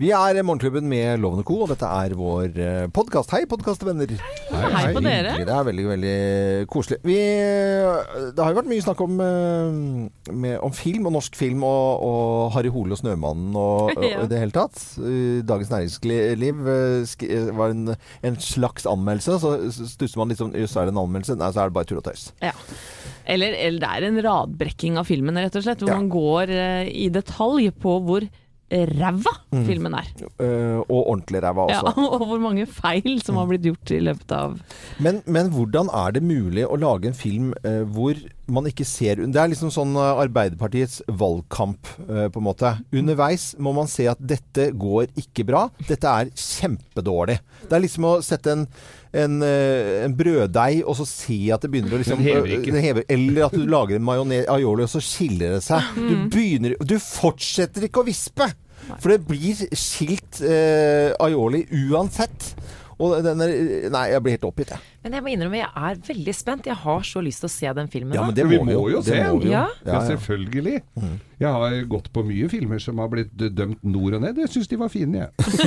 Vi er Morgenklubben med Lovende Co, og dette er vår podkast. Hei, podkastvenner. Hei på dere. Hyggelig. Det er veldig, veldig koselig. Vi, det har jo vært mye snakk om, eh, med, om film, og norsk film, og, og Harry Hole og Snømannen og, og Ja. i det hele tatt. Eh, Dagens Næringsliv eh, sk- eh, var en, en slags anmeldelse, så stusser man litt sånn Jøss, er det en anmeldelse? Nei, så er det bare tull og tøys. Ja. Eller, eller det er en radbrekking av filmen, rett og slett. Hvor Ja. man går eh, i detalj på hvor eh, ræva filmen er. Eh, og ordentlig ræva Ja, også. og hvor mange feil som har blitt gjort i løpet av Men, men hvordan er det mulig å lage en film eh, hvor man ikke ser Det er liksom sånn eh, Arbeiderpartiets valgkamp, eh, på en måte. Underveis må man se at dette går ikke bra. Dette er kjempedårlig. Det er liksom å sette en, en, eh, en brøddeig og så se at det begynner å liksom Den hever ikke. den hever. Eller at du lager en majones aioli, og så skiller det seg. Du begynner Du fortsetter ikke å vispe! For det blir skilt eh, aioli uansett. Og den er Nei, jeg blir helt oppgitt, jeg. Men jeg må innrømme, jeg er veldig spent. Jeg har så lyst til å se den filmen. Ja, nå. men det Vi må vi må jo. jo Det se må den. vi jo. Ja. Ja, Mm. ja. selvfølgelig. Jeg har gått på mye filmer som har blitt dømt nord og ned. Jeg syns de var fine, jeg.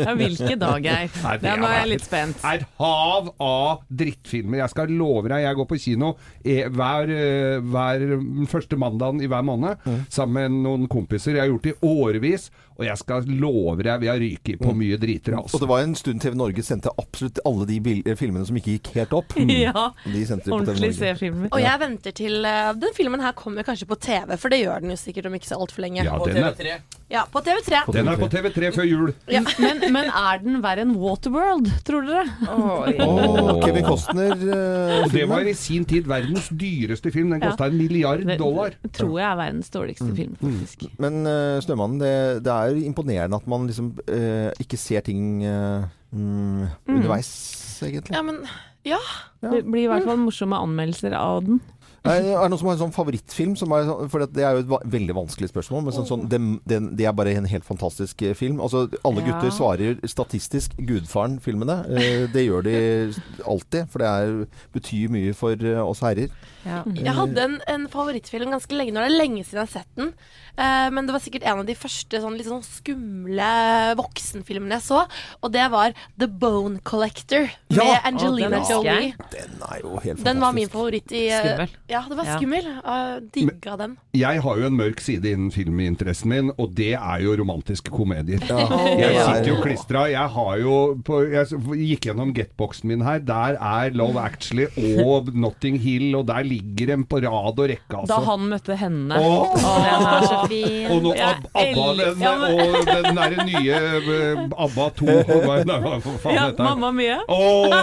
ja, Hvilke dag, Geir? Nei, det Ja, nå er er- jeg litt spent. Et hav av drittfilmer. Jeg skal love deg, jeg går på kino eh, hver, eh, hver mm, første mandagen i hver måned Mm. sammen med noen kompiser. Jeg har gjort det i årevis, og jeg skal love deg, vi har ryket på mye driter, Mm. Og altså. det var en stund TV Norge sendte absolutt alle de bil- eh, filmene som ikke gikk helt opp. Ja, De sendte de Mm. på TV Mm. ordentlig Norge. se-filmer. Og jeg venter til eh, Den filmen her kommer kanskje på TV, for det gjør den jo sikkert om ikke så altfor lenge. Ja, På den er, TV3. Ja, på TV3. den er på TV3 før jul. Men, men er den verre enn Waterworld, tror dere? Åh, Kevin eh, Costner-filmen. Og det var i sin tid verdens dyreste film. Den kosta en milliard Det dollar. tror jeg er verdens dårligste film, faktisk. Men eh, Snømannen, det, det er jo imponerende at man liksom eh, ikke ser ting eh, mm, underveis, egentlig. Ja, men Ja. Det blir i hvert fall morsomme anmeldelser av den. Er, er det noen som har en sånn favorittfilm? Som er, sånn- for det er jo et va veldig vanskelig spørsmål. Men sånn, sånn, det, den- det er bare en helt fantastisk eh, film. Altså, alle Ja. gutter svarer statistisk 'Gudfaren'-filmene. Eh, det gjør de alltid, for det er, betyr mye for eh, oss herrer. Jeg hadde en, en favorittfilm ganske lenge. Nå er det lenge siden jeg har sett den. Eh, men det var sikkert en av de første sånn, litt sånn skumle voksenfilmene jeg så. Og det var The Bone Collector med Ja! Angelina Å, den husker jeg. Jolie. Den er jo helt fantastisk. Den var min favoritt i eh, Skummel. Ja, det var Ja. skummel. Ja. Digga den. Jeg har jo en mørk side innen filminteressen min, og det er jo romantiske komedier. Jeg sitter jo klistra. Jeg har jo på, Jeg s- gikk gjennom getboxen min her. Der er Love Actually og Notting Hill, og der ligger dem på rad og rekke, Da altså. han møtte henne. Åh! den er så Og fin. nå Jeg Ab ABBA, elsker- den, Ja, men- og den derre nye eh, ABBA 2 og hva- nei, Hva faen Ja, heter den? Mamma Mia. Åh!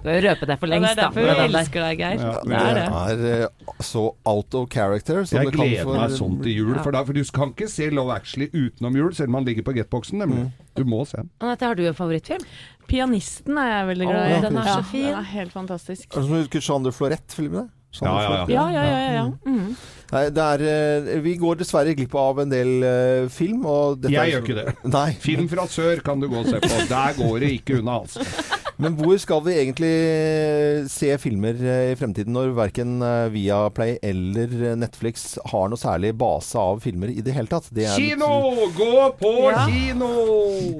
Du har jo røpet deg for Det lengst, er derfor da. vi med den der. elsker deg, Geir. Ja, det er det. Det er eh, så out of character. som Jeg det kan gleder for- meg sånn til jul, for, da, for du kan ikke se Love Actually utenom jul, selv om han ligger på getboxen, Mm. nemlig. Du må se den. Anette, har du en favorittfilm? Pianisten er jeg veldig glad i. Åh, den er så Ja, fin. Den er helt fantastisk. Er det som husker Chandler Florett-filmene? Ja, ja, ja. Ja, ja, ja. ja, ja. Mm. Nei, det er, eh, vi går dessverre glipp av en del eh, film. Og dette Jeg er- gjør ikke det. Nei. Film fra sør kan du gå og se på. Der går det ikke unna, altså. Men hvor skal vi egentlig se filmer eh, i fremtiden når verken eh, Viaplay eller eh, Netflix har noe særlig base av filmer i det hele tatt? Det er- Kino! Gå på kino!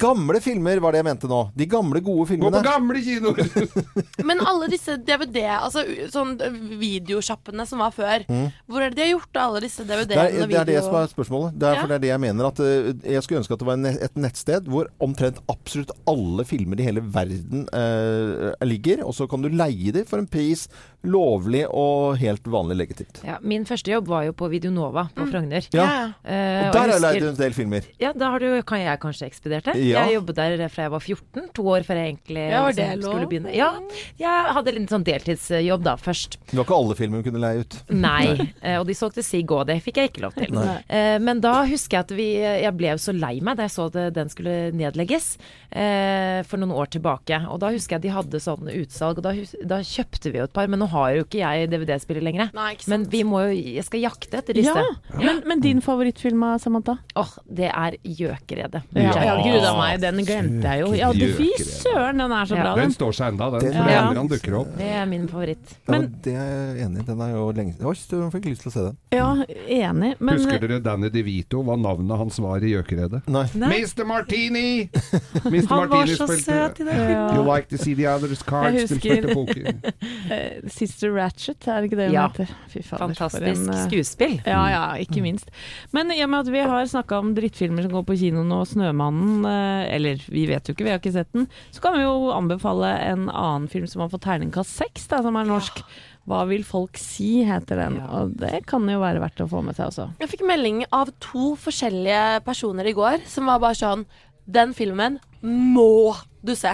Gamle filmer var det jeg mente nå. De gamle, gode Gå på filmene. gamle kinoer! Men alle disse DVD, altså u- sånn videosjappene som var før, hvor er det de har gjort av alle disse Mm. Det er, DVD-ene og det er det som video... er spørsmålet. Det er, Ja. for det er det jeg mener. At, eh, jeg skulle ønske at det var en, et nettsted hvor omtrent absolutt alle filmer i hele verden eh, ligger. Og så kan du leie dem for en pris lovlig og helt vanlig legitimt. Ja, min første jobb var jo på Videonova på Frogner. Ja. Eh, Og jeg der har jeg husker- leid en del filmer. Ja, da har du, kan jeg kanskje ekspedert det. Ja. Jeg jobbet der fra jeg var 14, to år før jeg egentlig Ja, var liksom det lov? skulle begynne. Ja, jeg hadde en sånn deltidsjobb da først. Det var ikke alle filmer hun kunne leie ut. Nei, eh, og de solgte Sig og det fikk jeg ikke lov til. Eh, Men da husker jeg at vi, jeg ble jo så lei meg da jeg så at den skulle nedlegges eh, for noen år tilbake. Og da husker jeg de hadde sånn utsalg, og da, hus- da kjøpte vi jo et par, men nå har jo ikke jeg DVD-spiller lenger. Nei, ikke sant. Men vi må jo, jeg skal jakte etter disse. Ja, men, men din favorittfilm, Samantha? Åh, det er Gjøkeredet. Ja, Jack ja Nicholson. gud a meg, den glemte jeg jo. Ja, du, fy søren, den er så bra, Den den. står seg enda, den. Den- For det Ja. hender han dukker opp. Det er min favoritt. Ja, Men- det er jeg enig i. Den er jo lenge siden. Oi, du fikk lyst til å se den. Ja, enig. Men eh, Husker dere Danny DeVito, hva navnet hans var i Gjøkeredet? Nei. Nei. Mr. Martini! Mr. Han var Martini så spilte- søt i den filmen. You like to see the others cards? Jeg Den husker. spilte poker. eh, Sister Ratchet, er det ikke det hun Ja. heter? Fy fader, for en, Fantastisk eh, skuespill. Ja, ja, ikke minst. Men i og med at vi har snakka om drittfilmer som går på kino nå, 'Snømannen', eh, eller vi vet jo ikke, vi har ikke sett den, så kan vi jo anbefale en annen film som har fått terningkast seks, da, som er norsk. 'Hva vil folk si', heter den. Ja. Og det kan jo være verdt å få med seg også. Jeg fikk melding av to forskjellige personer i går som var bare sånn Den filmen må du se.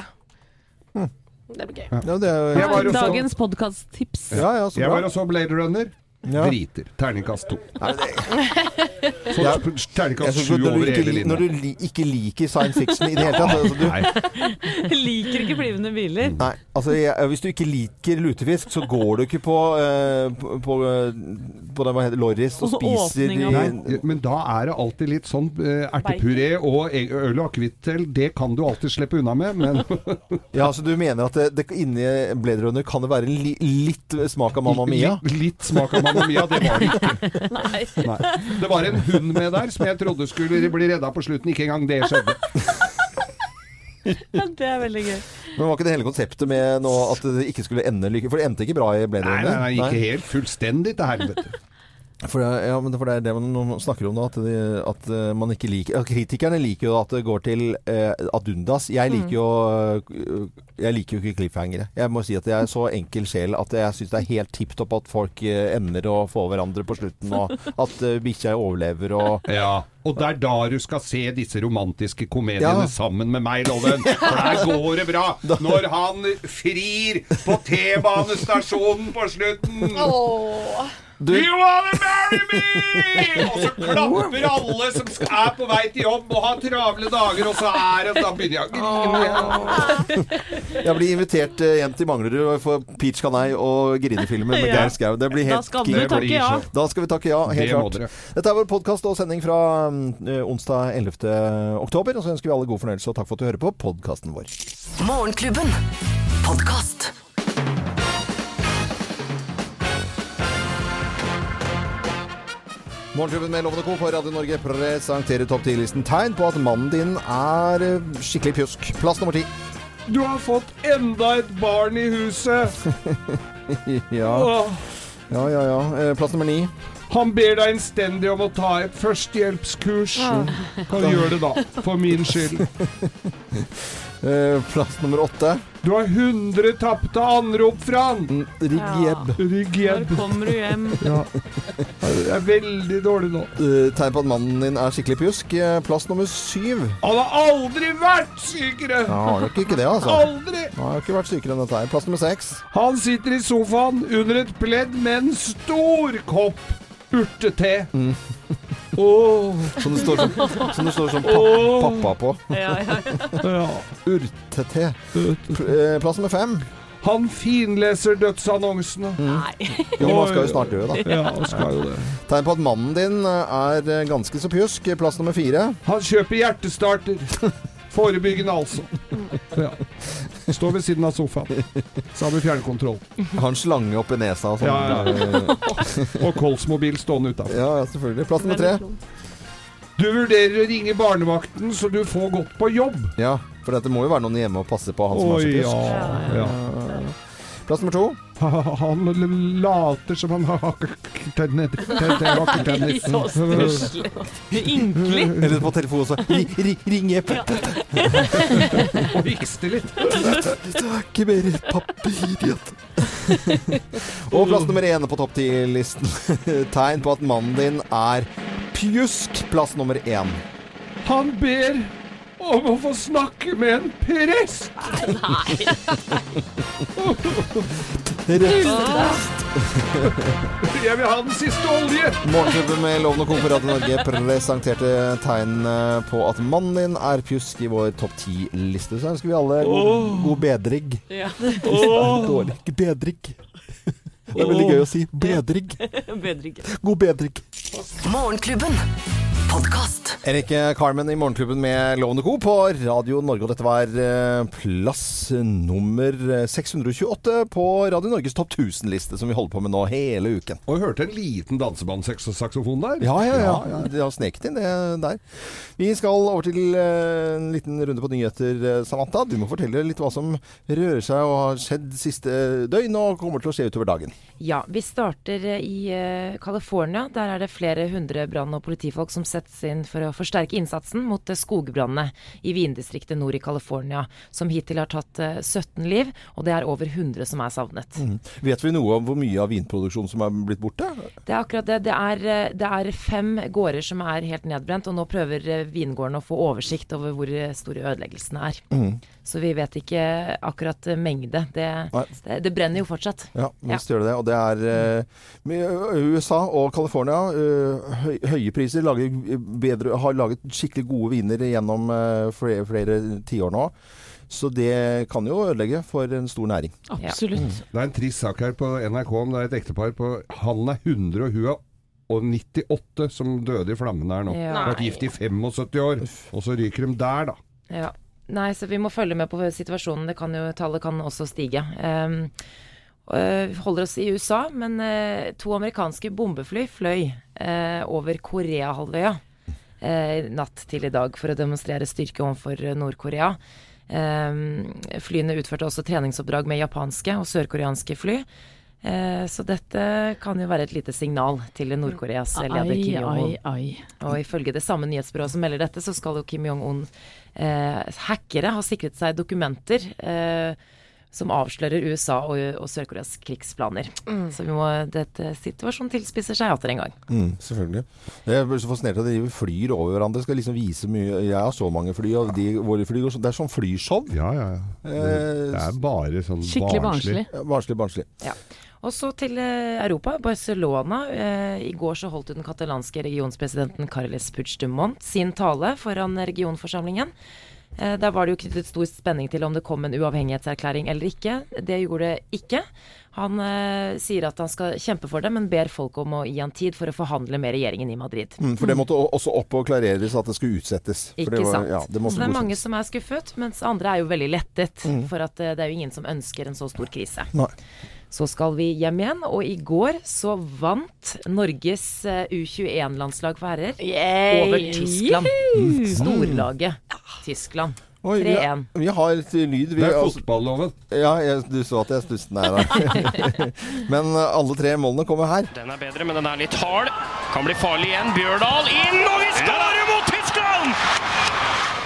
Mm. Det blir gøy. Ja, det er Jeg jo var jo så- Dagens podkast-tips. Ja, ja, så Jeg var bra. og så Blade Runner. Ja. Driter. Terningkast to. Nei, det, Så jeg terningkast synes sju når du, over hele ikke, når du linja. li, ikke liker science fiction i det hele tatt altså, du, Nei, Liker ikke flyvende biler. Nei, altså jeg, Hvis du ikke liker lutefisk, så går du ikke på, eh, på, på, eh, på den, hva heter det, Lorris og Og spiser sånn åpning av- i- nei, men da er det alltid litt sånn eh, ertepuré og e- øl og akevitt til. Det kan du alltid slippe unna med, men Ja, altså Du mener at det, det, inni Blade Runner kan det være en li, litt smak av Mamma Mia? Litt, litt smak av Mamma Mia, det var det ikke. Nei. Nei. Det var en hund med der som jeg trodde skulle bli redda på slutten. Ikke engang det skjedde. Det er veldig gøy. Men Var ikke det hele konseptet med nå at det ikke skulle ende like For det endte ikke bra i Blade Nei, Runner? nei, nei ikke helt fullstendig til helvete. For det, ja, men for det er det man snakker om nå, at, de, at eh, man ikke liker ja, Kritikerne liker jo at det går til eh, ad undas. Jeg Mm. liker jo eh, Jeg liker jo ikke cliffhangere. Jeg må si at jeg er så enkel sjel at jeg syns det er helt tipp topp at folk eh, emner å få hverandre på slutten, og at eh, bikkja overlever og Ja, og det er da du skal se disse romantiske komediene Ja. sammen med meg, Loven. For der går det bra! Når han frir på T-banestasjonen på slutten. Åh. Du, Do you wanna marry me? Og så klapper alle som er på vei til jobb og har travle dager, og så er det Da begynner jeg å grine. jeg blir invitert eh, hjem til Manglerud for Peach Canei og Grinefilmer med Ja. Geir Skau. Det blir Da helt skal key. du Det takke blir ja. så- Da skal vi takke ja, Det helt må klart. dere. Dette er vår podkast og sending fra mm, eh, onsdag 11. oktober. Og så ønsker vi alle god fornøyelse, og takk for at du hører på podkasten vår. Morgenklubben. Podkast. Morgenklubben med Lovende Co. på Radio Norge presenterer topp 10-listen tegn på at mannen din er eh, skikkelig pjusk. Plass nummer ti. Du har fått enda et barn i huset. Ja, Åh. ja, ja. ja. Eh, Plass nummer ni. Han ber deg innstendig om å ta et førstehjelpskurs. Kan du gjøre det da, for min skyld. Eh, Plass nummer åtte. Du har 100 tapte anrop fra han. Mm, Rigg jebb. Når Ryggen kommer du hjem? er veldig dårlig nå. Eh, Tegn på at mannen din er skikkelig pjusk. Eh, Plass nummer syv. Han har aldri vært sykere! Ja, har nok ikke det, altså. Aldri! Han har ikke vært sykere enn dette her. Plass nummer seks. Han sitter i sofaen under et pledd med en stor kopp urtete. Åh, Som det står som, som, det står som pa Åh. pappa på. Ja, ja. ja. Urtete. Pl- eh, Plass nummer fem. Han finleser dødsannonsene. Jo, man skal jo snart dø, da. Ja, han skal jo det. Tegn på at mannen din er eh, ganske så pjusk. Plass nummer fire. Han kjøper hjertestarter. Forebyggende, altså. Ja. Står ved siden av sofaen. Så har vi fjernkontroll. Har en slange oppi nesa og sånn. Ja, ja. Og Kolsmobil stående utafor. ja, selvfølgelig. Plass nummer tre. Du vurderer å ringe barnevakten, så du får gått på jobb. Ja, for dette må jo være noen hjemme og passe på han som er så ja. pjusk. ja. Plass nummer to. Han l- later som han har hakketennis. Så stusslig. Ynkelig. Eller på telefonen så ri, ri, Ring Jepp. Og hikste litt. Ikke mer papiridiot. og plass nummer én på topp ti-listen. Tegn på at mannen din er pjusk. Plass nummer én. Han ber om å få snakke med en prest! Jeg vil ha den siste olje! Morgenklubben med Loven og Co. på Radio Norge presenterte tegn på at mannen din er pjusk i vår topp ti-liste. Så ønsker vi alle god, god bedring. Åh. Dårlig bedring. Det er veldig gøy å si bedring. Bedre ikke. God bedring. Morgenklubben. Podkast. Erik eh, Carmen i Morgenklubben med Lovende Co. på Radio Norge. Og dette var eh, plass nummer eh, 628 på Radio Norges topp 1000-liste, som vi holder på med nå hele uken. Og jeg hørte en liten dansebandssaksofon der. Ja, ja, ja. De har sneket inn det der. Vi skal over til eh, en liten runde på nyheter, eh, Samantha. Du må fortelle litt hva som rører seg og har skjedd siste døgn, og kommer til å skje utover dagen. Ja, vi starter eh, i eh, California. Der er det flere hundre brann- og politifolk som settes inn for å forsterke innsatsen mot eh, skogbrannene i vindistriktet nord i California, som hittil har tatt eh, 17 liv, og det er over 100 som er savnet. Vet vi noe om hvor mye av vinproduksjonen som er blitt borte? Det er akkurat det. Det er, eh, det er fem gårder som er helt nedbrent, og nå prøver eh, vingården å få oversikt over hvor eh, store ødeleggelsene er. Mm. Så vi vet ikke akkurat eh, mengde. Det, Nei. det, det brenner jo fortsatt. Ja, visst gjør det det. Og det er eh, med- USA og California. eh, høy, høye priser. Lager eh, bedre, har laget skikkelig gode viner gjennom eh, flere, flere tiår nå. Så det kan jo ødelegge for en stor næring. Absolutt. Det er en trist sak her på NRK om det er et ektepar på Han er 100 og hun er og 98 som døde i flammene her nå. Ja. Har Vært gift i 75 år. Og så ryker de der, da. Ja. Nei, så vi må følge med på situasjonen. Det kan jo, tallet kan også stige. Ehm, øh, vi holder oss i USA, men eh, to amerikanske bombefly fløy eh, over Koreahalvøya eh, natt til i dag for å demonstrere styrke overfor eh, Nord-Korea. Ehm, flyene utførte også treningsoppdrag med japanske og sørkoreanske fly. Eh, så dette kan jo være et lite signal til Nord-Koreas leder Ai, Kim Jong-un. ai, ai. Og ifølge det samme nyhetsbyrået som melder dette, så skal jo Kim Jong-un eh, hackere ha sikret seg dokumenter eh, som avslører USA og, og Sør-Koreas krigsplaner. Så vi må, dette situasjonen eh, tilspisser seg atter en gang. selvfølgelig. Mm. Jeg blir så fascinert av at de flyr over hverandre. Skal liksom vise mye Jeg har så mange fly, og de, våre fly går sånn. Det er sånn flyshow. Ja, ja, ja. Det, det er bare sånn Skikkelig barnslig. Ja, Barnslig, barnslig. Ja. Og så til eh, Europa. Barcelona. Eh, I går så holdt jo den katalanske regionspresidenten Carles Puigdemont sin tale foran regionforsamlingen. Eh, der var det jo knyttet stor spenning til om det kom en uavhengighetserklæring eller ikke. Det gjorde det ikke. Han eh, sier at han skal kjempe for det, men ber folk om å gi han tid for å forhandle med regjeringen i Madrid. Mm, For det måtte o- også opp og klareres at det skulle utsettes. for Ikke det var- sant. Ja, det så måtte det er mange godkjennes. Mm. som er skuffet, mens andre er jo veldig lettet. For at eh, det er jo ingen som ønsker en så stor krise. Nei. Så skal vi hjem igjen, og i går så vant Norges eh, U21-landslag for herrer over Tyskland. Mm. Storlaget Tyskland. Oi, vi, 3-1. vi har et lyd. Vi, Det er altså- fotballoven. Ja, jeg, du så at jeg stusset nær her. Men eh, alle tre målene kommer her. Den er bedre, men den er litt hard. Kan bli farlig igjen. Bjørdal inn, og vi skårer mot Tyskland!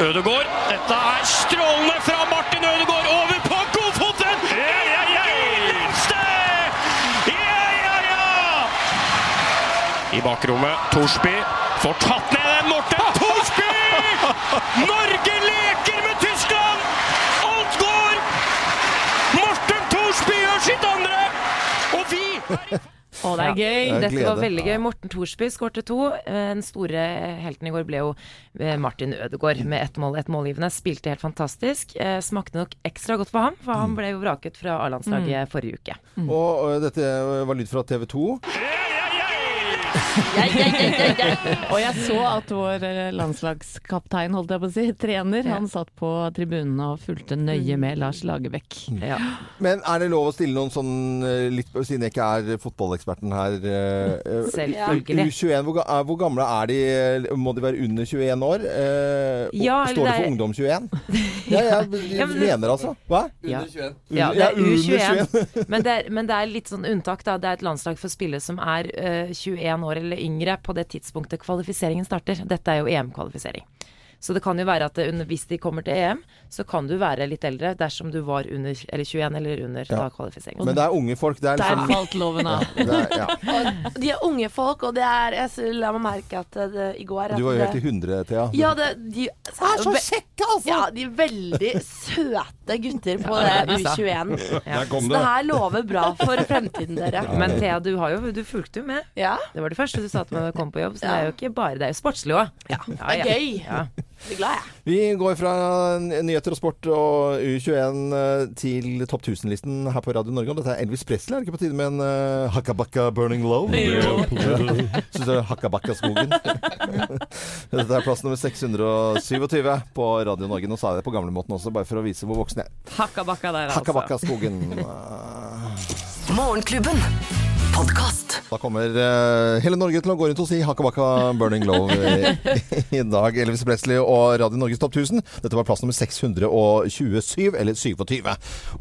Ødegaard. Dette er strålende fra Martin Ødegaard over på godfoten! Ja, ja, ja! Lengste! Ja, ja, ja! I bakrommet Thorsby får tatt ned den Morten Thorsby! Norge leker med Tyskland! Alt går! Morten Thorsby gjør sitt andre, og vi er i Å, det er gøy! Ja. Dette var glede. veldig gøy. Morten Thorsby skårte to. Eh, Den store helten i går ble jo eh, Martin Ødegaard med ett mål, ett målgivende. Spilte helt fantastisk. Eh, Smakte nok ekstra godt for ham, for han ble jo vraket fra Mm. A-landslaget forrige uke. Og eh, dette var lyd fra TV 2. Og jeg så at vår eh, landslagskaptein, holdt jeg på å si, trener, han satt på tribunen og fulgte nøye med Lars Lagerbäck. Ja. Men er det lov å stille noen sånn eh, litt Siden jeg ikke er fotballeksperten her. eh, eh, Selvfølgelig. U21, hvor, ga- er, hvor gamle er de? Eh, Må de være under 21 år? Eh, og- Ja, eller Står det det for er- Ungdom 21? Ja, jeg Ja, men- mener altså. Hva? Ja. Under- Ja, det er under U21. men, det er, men det er litt sånn unntak, da. Det er et landslag for spillere som er eh, 21 år eller yngre på det tidspunktet kvalifiseringen starter. Dette er jo EM-kvalifisering. Så det kan jo være at det under, hvis de kommer til EM, så kan du være litt eldre dersom du var under eller 21 eller under da kvalifiseringen. Men det er unge folk. Det er Der liksom falt loven av. det er, ja. Og de er unge folk, og det er jeg, s- La meg merke at det, i går at Du var jo helt i det, hundre, Thea. ja, det, de er så kjekke, altså! Ja, de er veldig søte gutter på Ja, det det er U21. Der Så kom det det. her lover bra for fremtiden, dere. Men Thea, du, har jo, du fulgte jo med. Ja, Det var det første du sa til meg da du kom på jobb, så det er jo ikke bare Det er jo sportslig òg. Ja. det er gøy. Ja. blir glad, jeg. Vi går fra nyheter og sport og U21 til topp 1000-listen her på Radio Norge. Og dette er Elvis Presley. Er det ikke på tide med en uh, Hakkabakka Burning Low? Syns du Hakkabakka-skogen? dette er plass nummer 627 på Radio Norge. Nå sa jeg det på gamlemåten også, bare for å vise hvor voksen jeg er. Hakkabakka der, altså. Hakkabakka-skogen. Morgenklubben. Podkast. Da kommer eh, hele Norge til å gå rundt og si Hakkabakka Burning Low i, i dag. Elvis Presley og Radio Norges Topp 1000. Dette var plass nummer 627, eller 27,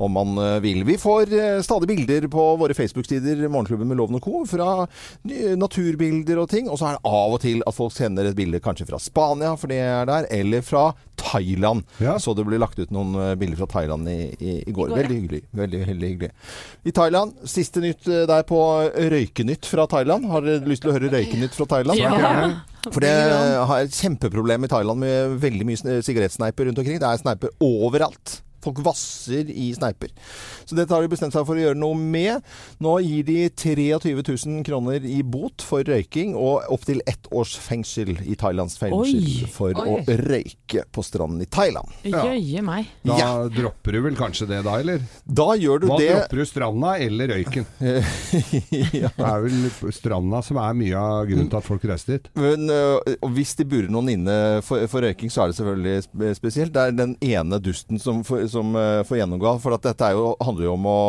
om man eh, vil. Vi får eh, stadig bilder på våre Facebook-sider, Morgenklubben med Loven og Co., fra nye naturbilder og ting. Og så er det av og til at folk sender et bilde kanskje fra Spania, for det er der, eller fra Thailand. Ja. Så det ble lagt ut noen eh, bilder fra Thailand i, i, i går. Veldig hyggelig. Veldig, veldig hyggelig. I Thailand, siste nytt eh, der på Røykenytt fra Thailand. Har dere lyst til å høre Røykenytt fra Thailand? Ja. For det har et kjempeproblem i Thailand med veldig mye sn- sigarettsneiper rundt omkring. Det er sneiper overalt. Folk vasser i sneiper. Så dette har de bestemt seg for å gjøre noe med. Nå gir de 23 000 kroner i bot for røyking, og opptil ett års fengsel i Thailands fengsel Oi. for Oi. å røyke på stranden i Thailand. Jøye meg. Da Ja. dropper du vel kanskje det da, eller? Da gjør du Hva det dropper du? Stranda eller røyken? ja. Det er vel stranda som er mye av grunnen til at folk reiser dit. Men ø, og hvis de burer noen inne for, for røyking, så er det selvfølgelig sp- spesielt. Det er den ene dusten som, får- som ø, får gjennomgå. For at dette er jo, handler jo om å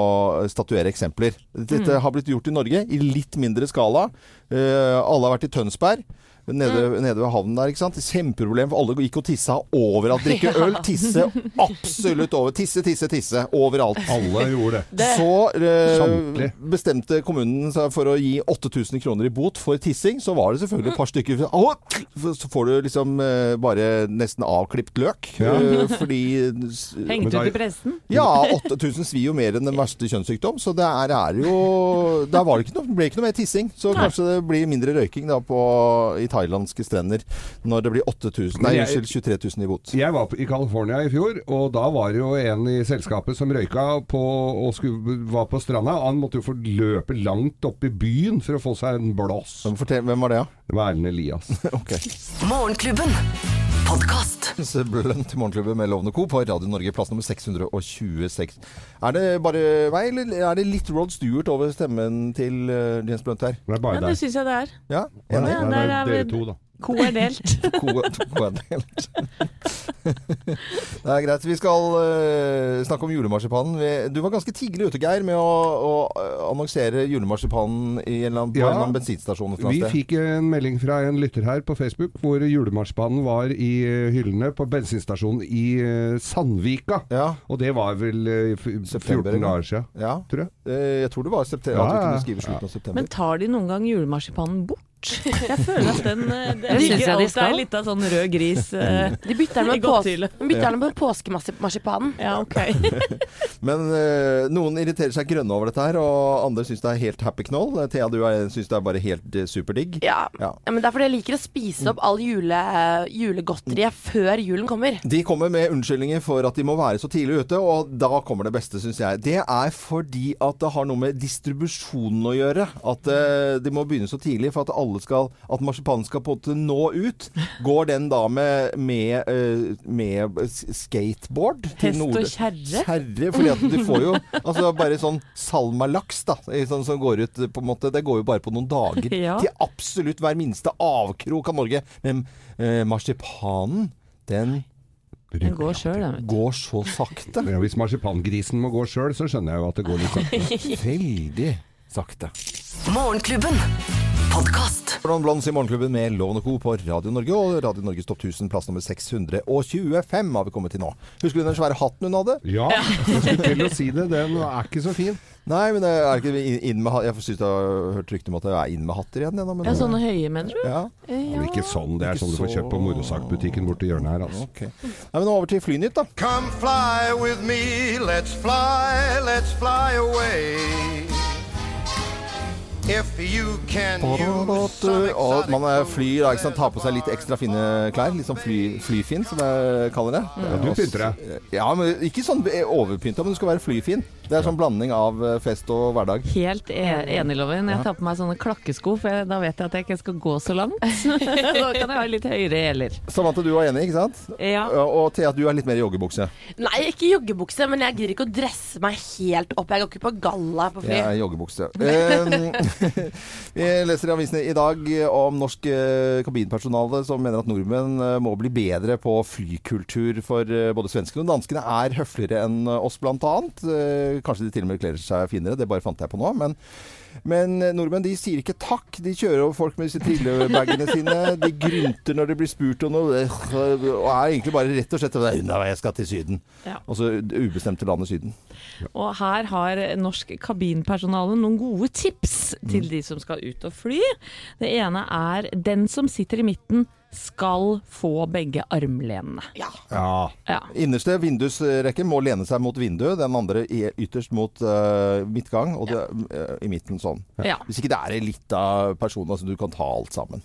statuere eksempler. Dette har blitt gjort i Norge i litt mindre skala. Eh, alle har vært i Tønsberg. Nede, nede ved havnen der. ikke sant? Kjempeproblem, for alle gikk og tissa overalt. Drikke øl, tisse absolutt over. Tisse, tisse, tisse. Overalt. Alle gjorde det. Så eh, Samtlig. bestemte kommunen seg for å gi 8000 kroner i bot for tissing. Så var det selvfølgelig et par stykker Au! Så får du liksom eh, bare nesten avklipt løk. Ja. eh, fordi s- Men Hengt da- ut i pressen. Ja, 8000 svir jo mer enn den verste kjønnssykdom. Så det er, er jo Der var det ikke noe, ble ikke noe mer tissing. Så kanskje det blir mindre røyking da på, i thailandske strender når det blir 8000 Nei, Men jeg- unnskyld, 23 000 i bot. Jeg var på- i California i fjor, og da var det jo en i selskapet som røyka på, og skulle, var på stranda. Han måtte jo få løpe langt opp i byen for å få seg en blås. Men Fortell, hvem var det, da? Det var Erlend Elias. Ok. Morgenklubben. Podkast. Jens Blønn til Morgenklubben med Lovende Co. på Radio Norge, plass nummer 626. Er det bare meg, eller er det litt Rod Stewart over stemmen til eh, Jens Blønt her? Det er Ja, bare det deg. syns jeg det er. Ja, Nei, nei, enig? Ja, det er der er dere vi- to, da. Co er delt. To, to er delt. Det er greit. Vi skal eh, snakke om julemarsipanen. Vi- Du var ganske tidlig ute, Geir, med å, å eh, annonsere julemarsipanen i en eller annen, på Ja. en eller annen bensinstasjon. et eller Vi annet sted. fikk en melding fra en lytter her på Facebook hvor julemarsipanen var i eh, hyllene på bensinstasjonen i eh, Sandvika. Ja. Og det var vel eh, f- 14 September, ja. dager siden, ja. tror jeg. Eh, Jeg tror det var Ja, september. At vi ja, ja. kunne skrive slutten av september. Men tar de noen gang julemarsipanen bort? Jeg føler at den eh, Det Det synes ligger jeg de alltid skal. er litt av sånn rød gris. eh, De bytter den I med, godt pås tydelig. de bytter den med påskemarsipanen. Ja, ok. Men eh, noen irriterer seg grønne over dette her, og andre syns det er helt happy knoll. Eh, Thea, du er- syns det er bare helt eh, superdigg. Ja. Ja. ja, men Det er fordi jeg liker å spise opp all jule, julegodteriet før julen kommer. De kommer med unnskyldninger for at de må være så tidlig ute, og da kommer det beste, syns jeg. Det er fordi at det har noe med distribusjonen å gjøre. At eh, de må begynne så tidlig for at, alle skal, at marsipanen skal på en måte nå ut. Går den da med, med, eh, med s- skateboard Hest og kjerre? Kjerre, fordi at du får jo altså bare sånn salmalaks, da. i Sånn som går ut på en måte Det går jo bare på noen dager. Ja. Til absolutt hver minste avkrok av Norge. Men eh, marsipanen, den Den går sjøl, den. går så sakte. Ja, hvis marsipangrisen må gå sjøl, så skjønner jeg jo at det går litt sakte. Veldig sakte. Morgenklubben. Podkast. Blond Blondes i Morgenklubben med Loven og Co. på Radio Norge og Radio Norges topp 1000, plass nummer 625 har vi kommet til nå. Husker du den svære hatten hun hadde? Ja, jeg skulle til å si det. Den er ikke så fin. Nei, men det er ikke inn- inn med hatt. Jeg syns jeg har hørt rykte om at jeg er inn med hatter igjen. jeg, nå, men- Ja, sånn- sånne høye, mener du? Ja, Men ikke sånn. Det er Ikke sånn du får så- kjøpt på Morosakbutikken borti hjørnet her, altså. ok. Nei, men over til Flynytt, da. Come fly with me, let's fly, let's fly away. If you can use some Og man er exotic fly, da, ikke sant? tar på seg litt ekstra fine klær. Litt sånn fly, flyfin, som jeg kaller det. Ja, du pynter Ja, men ikke sånn overpynta, men du skal være flyfin. Det er sånn blanding av eh, fest og hverdag. Helt e- enig, Loven. Jeg tar på meg sånne klakkesko, for jeg, da vet jeg at jeg ikke skal gå så langt. da kan jeg ha litt høyere hæler. Samantha, du var enig, ikke sant? Ja. Og Thea, du er litt mer i joggebukse. Nei, ikke joggebukse, men jeg gidder ikke å dresse meg helt opp. Jeg går ikke på galla på fly. Jeg er i joggebukse. Eh, Vi leser i avisene i dag om norsk eh, kabinpersonale som mener at nordmenn eh, må bli bedre på flykultur, for eh, både svenskene og danskene er høfligere enn oss, blant annet. Eh, Kanskje de til og med kler seg finere, det bare fant jeg på nå. men men eh, nordmenn de sier ikke takk. De kjører over folk med disse trillebagene sine. De grynter når de blir spurt om noe. øh, Og er egentlig bare rett og slett «Nei, Unna meg, jeg skal til Syden. Ja. Og så det ubestemte landet Syden. Og her har norsk kabinpersonale noen gode tips til de som skal ut og fly. Det ene er den som sitter i midten skal få begge armlenene. Ja. Ja. Innerste vindusrekke må lene seg mot vinduet. Den andre i- ytterst mot øh, midtgang, og det, øh, i midten sånn. Ja. Hvis ikke det er ei lita person, altså du kan ta alt sammen.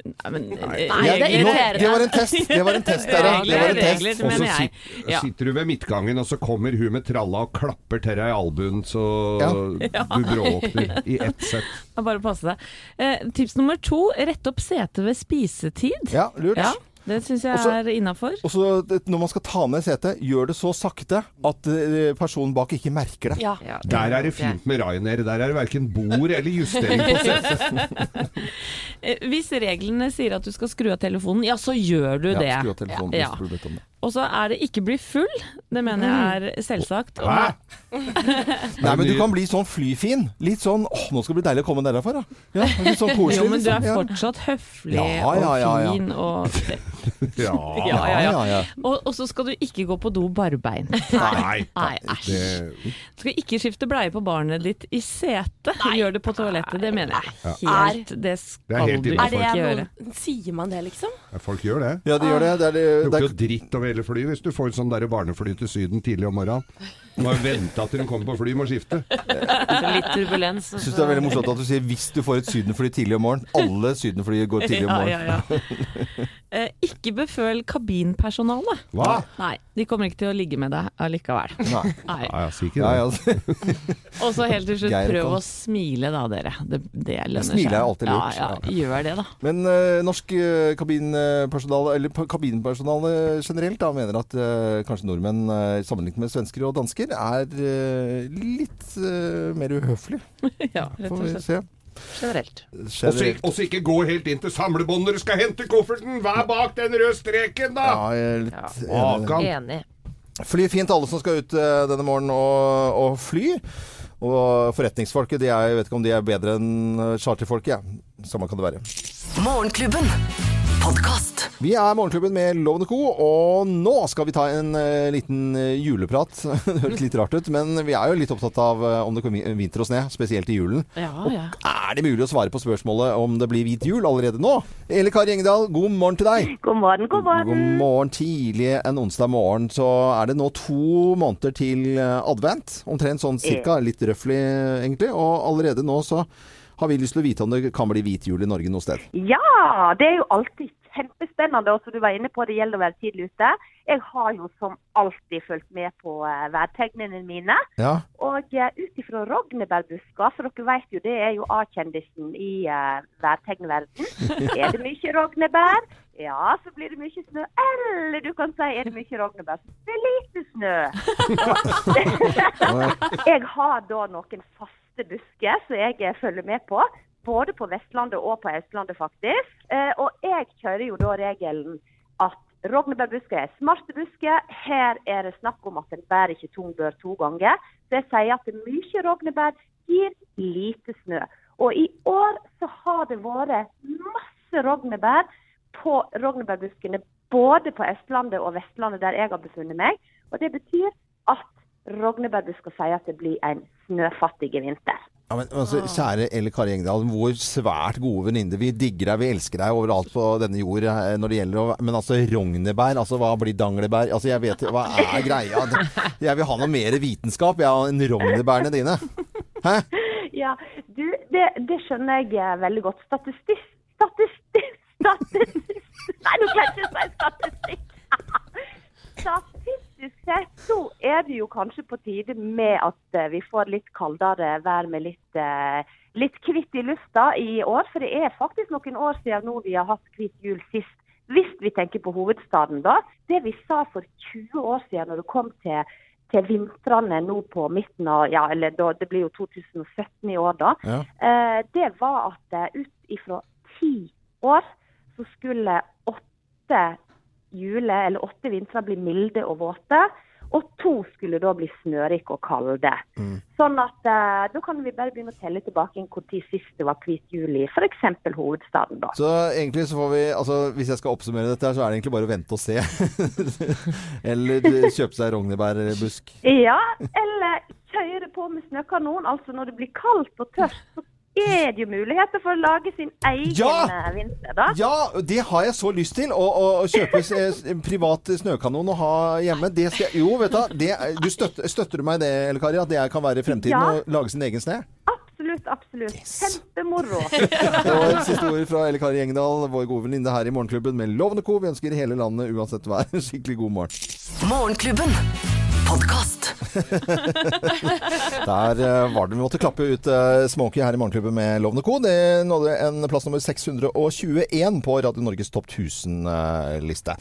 Nei, men, eh, Nei, det er Jeg- nå- irriterende. Det var en test! Det var en test, dere. Regler, Det var en regler, test. Og så mener jeg. sit- Ja. sitter du ved midtgangen, og så kommer hun med tralla og klapper til deg i albuen, så Ja. du bråvåkner i ett sett. Ja, Bare passe deg. Eh, tips nummer to, rett opp setet ved spisetid. Ja, lurt. Ja, det syns jeg Også- er innafor. Og så det- Når man skal ta ned setet, gjør det så sakte at eh, personen bak ikke merker det. Ja. Der er det fint med Ryanair. Der er det verken bord eller justering på setet. Eh, Hvis reglene sier at du skal skru av telefonen, ja, så gjør du det. Ja, skru av telefonen Ja. hvis du blir bedt om det. Og så er det ikke bli full. Det mener jeg er selvsagt. Og Hæ? Nei, men du kan bli sånn flyfin. Litt sånn åh, nå skal det bli deilig å komme deg derfra, da. Ja, litt sånn koselig. Jo, men du er liksom. Ja. fortsatt høflig Ja, ja, ja, ja. og fin og Ja. Ja, ja, ja. Ja, ja, ja. Og, og så skal du ikke gå på do barbeint. Nei. Nei, æsj. Det, Du skal ikke skifte bleie på barnet ditt i setet. Gjør det på toalettet, det mener jeg. Helt, det Det er skal helt du innenfor. ikke Er det gjøre. noen Sier man det, liksom? folk gjør det. ja, de gjør det. Det er, det, Det det lukter er, jo dritt over hele flyet hvis du får sånn der barnefly til Syden tidlig om morgenen. Du må jo vente til de kommer på fly, må skifte. litt turbulens. jeg synes det er veldig morsomt at du sier 'hvis du får et sydenfly tidlig om morgenen'. Alle sydenfly går tidlig om Ja, morgenen. ja, ja. Eh, ikke beføl kabinpersonalet. Hva? Nei, de kommer ikke til å ligge med deg allikevel. Nei. Nei. Nei, jeg sier ikke Ja, det. ja, altså. Og så helt til slutt, Geir prøv kom. å smile da, dere. Det, det lønner seg. Smile er alltid lurt. Ja, ja, gjør det, da. Men eh, norsk eh, kabinpersonale, eller pa- kabinpersonale generelt, da, mener at eh, kanskje nordmenn eh, sammenlignet med svensker og dansker er eh, litt eh, mer uhøflige. Ja, rett og Får vi slett. se. altså. Generelt. Også, også ikke gå helt inn til samlebåndet når du skal hente kofferten! Vær bak den røde streken, da! Ja, jeg er litt enig. Makan. Enig. Fly fint, alle som skal ut eh, denne morgenen og, og fly. Og forretningsfolket, de er, jeg vet ikke om de er bedre enn eh, charterfolket. Ja. Samme kan det være. Morgenklubben. Podkast. Vi er Morgenklubben med Loven Co., og nå skal vi ta en eh, liten eh, juleprat. det høres litt rart ut, men vi er jo litt opptatt av eh, om det kommer vinter og sne, spesielt i julen. Ja, ja. Er det mulig å svare på spørsmålet om det blir hvit jul allerede nå? Eli Kari Engedal, god morgen til deg. God morgen, god morgen. God morgen. Tidlig en onsdag morgen så er det nå to måneder til eh, advent. Omtrent sånn cirka, litt røffelig eh, egentlig. Og allerede nå så har vi lyst til å vite om det kan bli hvit jul i Norge noe sted. Ja, det er jo alltid kjempespennende. Og som du var inne på, det gjelder å være tidlig ute. Jeg har jo som alltid fulgt med på eh, værtegnene mine. Ja, Og eh, ut ifra rognebærbusker, for dere vet jo det er jo A-kjendisen i eh, værtegnverden. Er det mye rognebær? Ja, så blir det mye snø. Eller du kan si er det mye rognebær? Det er lite snø. Jeg har da noen faste busker som jeg eh, følger med på. Både på Vestlandet og på Østlandet, faktisk. Eh, og jeg kjører jo da regelen at rognebærbusker er smarte busker. Her er det snakk om at en bærer ikke tung bør to ganger. Så jeg sier at mye rognebær gir lite snø. Og i år så har det vært masse rognebær på rognebærbuskene både på Østlandet og Vestlandet, der jeg har befunnet meg. Og det betyr at Rognebærbusker sier at det blir en snøfattig vinter. ja men altså, Kjære Eli Kari Engedal, vår svært gode venninne. Vi digger deg, vi elsker deg overalt på denne jord eh, når det gjelder å Men altså, rognebær, altså hva blir danglebær? Altså, jeg vet Hva er greia? Jeg vil ha noe mer vitenskap, jeg, enn rognebærene dine. Ja, du, det, det skjønner jeg eh, veldig godt. Statistikk Statistikk Statistikk Nei, nå kan jeg ikke si statistikk. Statistisk sett så er det jo kanskje på tide med at eh, vi får litt kaldere vær med litt, eh, litt kvitt i lufta i år. For det er faktisk noen år siden nå vi har hatt hvit jul sist. Hvis vi tenker på hovedstaden, da. Det vi sa for 20 år siden når det kom til, til vintrene nå på midten av Ja, eller da, det blir jo 2017 i år, da. Ja. Eh, det var at eh, ut ifra ti år så skulle åtte jule, eller åtte vintre bli milde og våte. Og to skulle da bli snørike og kalde. Mm. Sånn at eh, da kan vi bare begynne å telle tilbake inn hvor tid sist det var hvit jul i f.eks. hovedstaden, da. Så egentlig så får vi altså, Hvis jeg skal oppsummere dette, her, så er det egentlig bare å vente og se. Eller kjøpe seg rognebærbusk. Ja, eller kjøre på med snøkanon. Altså når det blir kaldt og tørt, så er det jo muligheter for å lage sin egen Ja! eh, vinter, da. Ja, det har jeg så lyst til! Å, å, å kjøpe s- s- en privat snøkanon å ha hjemme. Det skal jeg Jo, vet du, det, du støtter, støtter du meg i det, Elle Kari? At det kan være fremtiden? Ja. Å lage sin egen snø? Absolutt, absolutt. Kjempemoro. Det var et siste ord fra Elle Kari Engdahl, vår gode venninne her i Morgenklubben med Lovende Co. Vi ønsker hele landet, uansett vær, en skikkelig god morgen. Morgenklubben. Podkast. Der eh, var det vi måtte klappe ut eh, Smokie her i Morgenklubben med Lovende Co. Det nådde en plass nummer 621 på Radio Norges topp 1000-liste.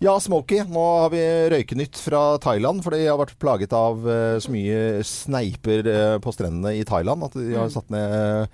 Ja, Smokie, nå har vi røykenytt fra Thailand, for de har vært plaget av eh, så mye sneiper eh, på strendene i Thailand at de har satt ned, eh,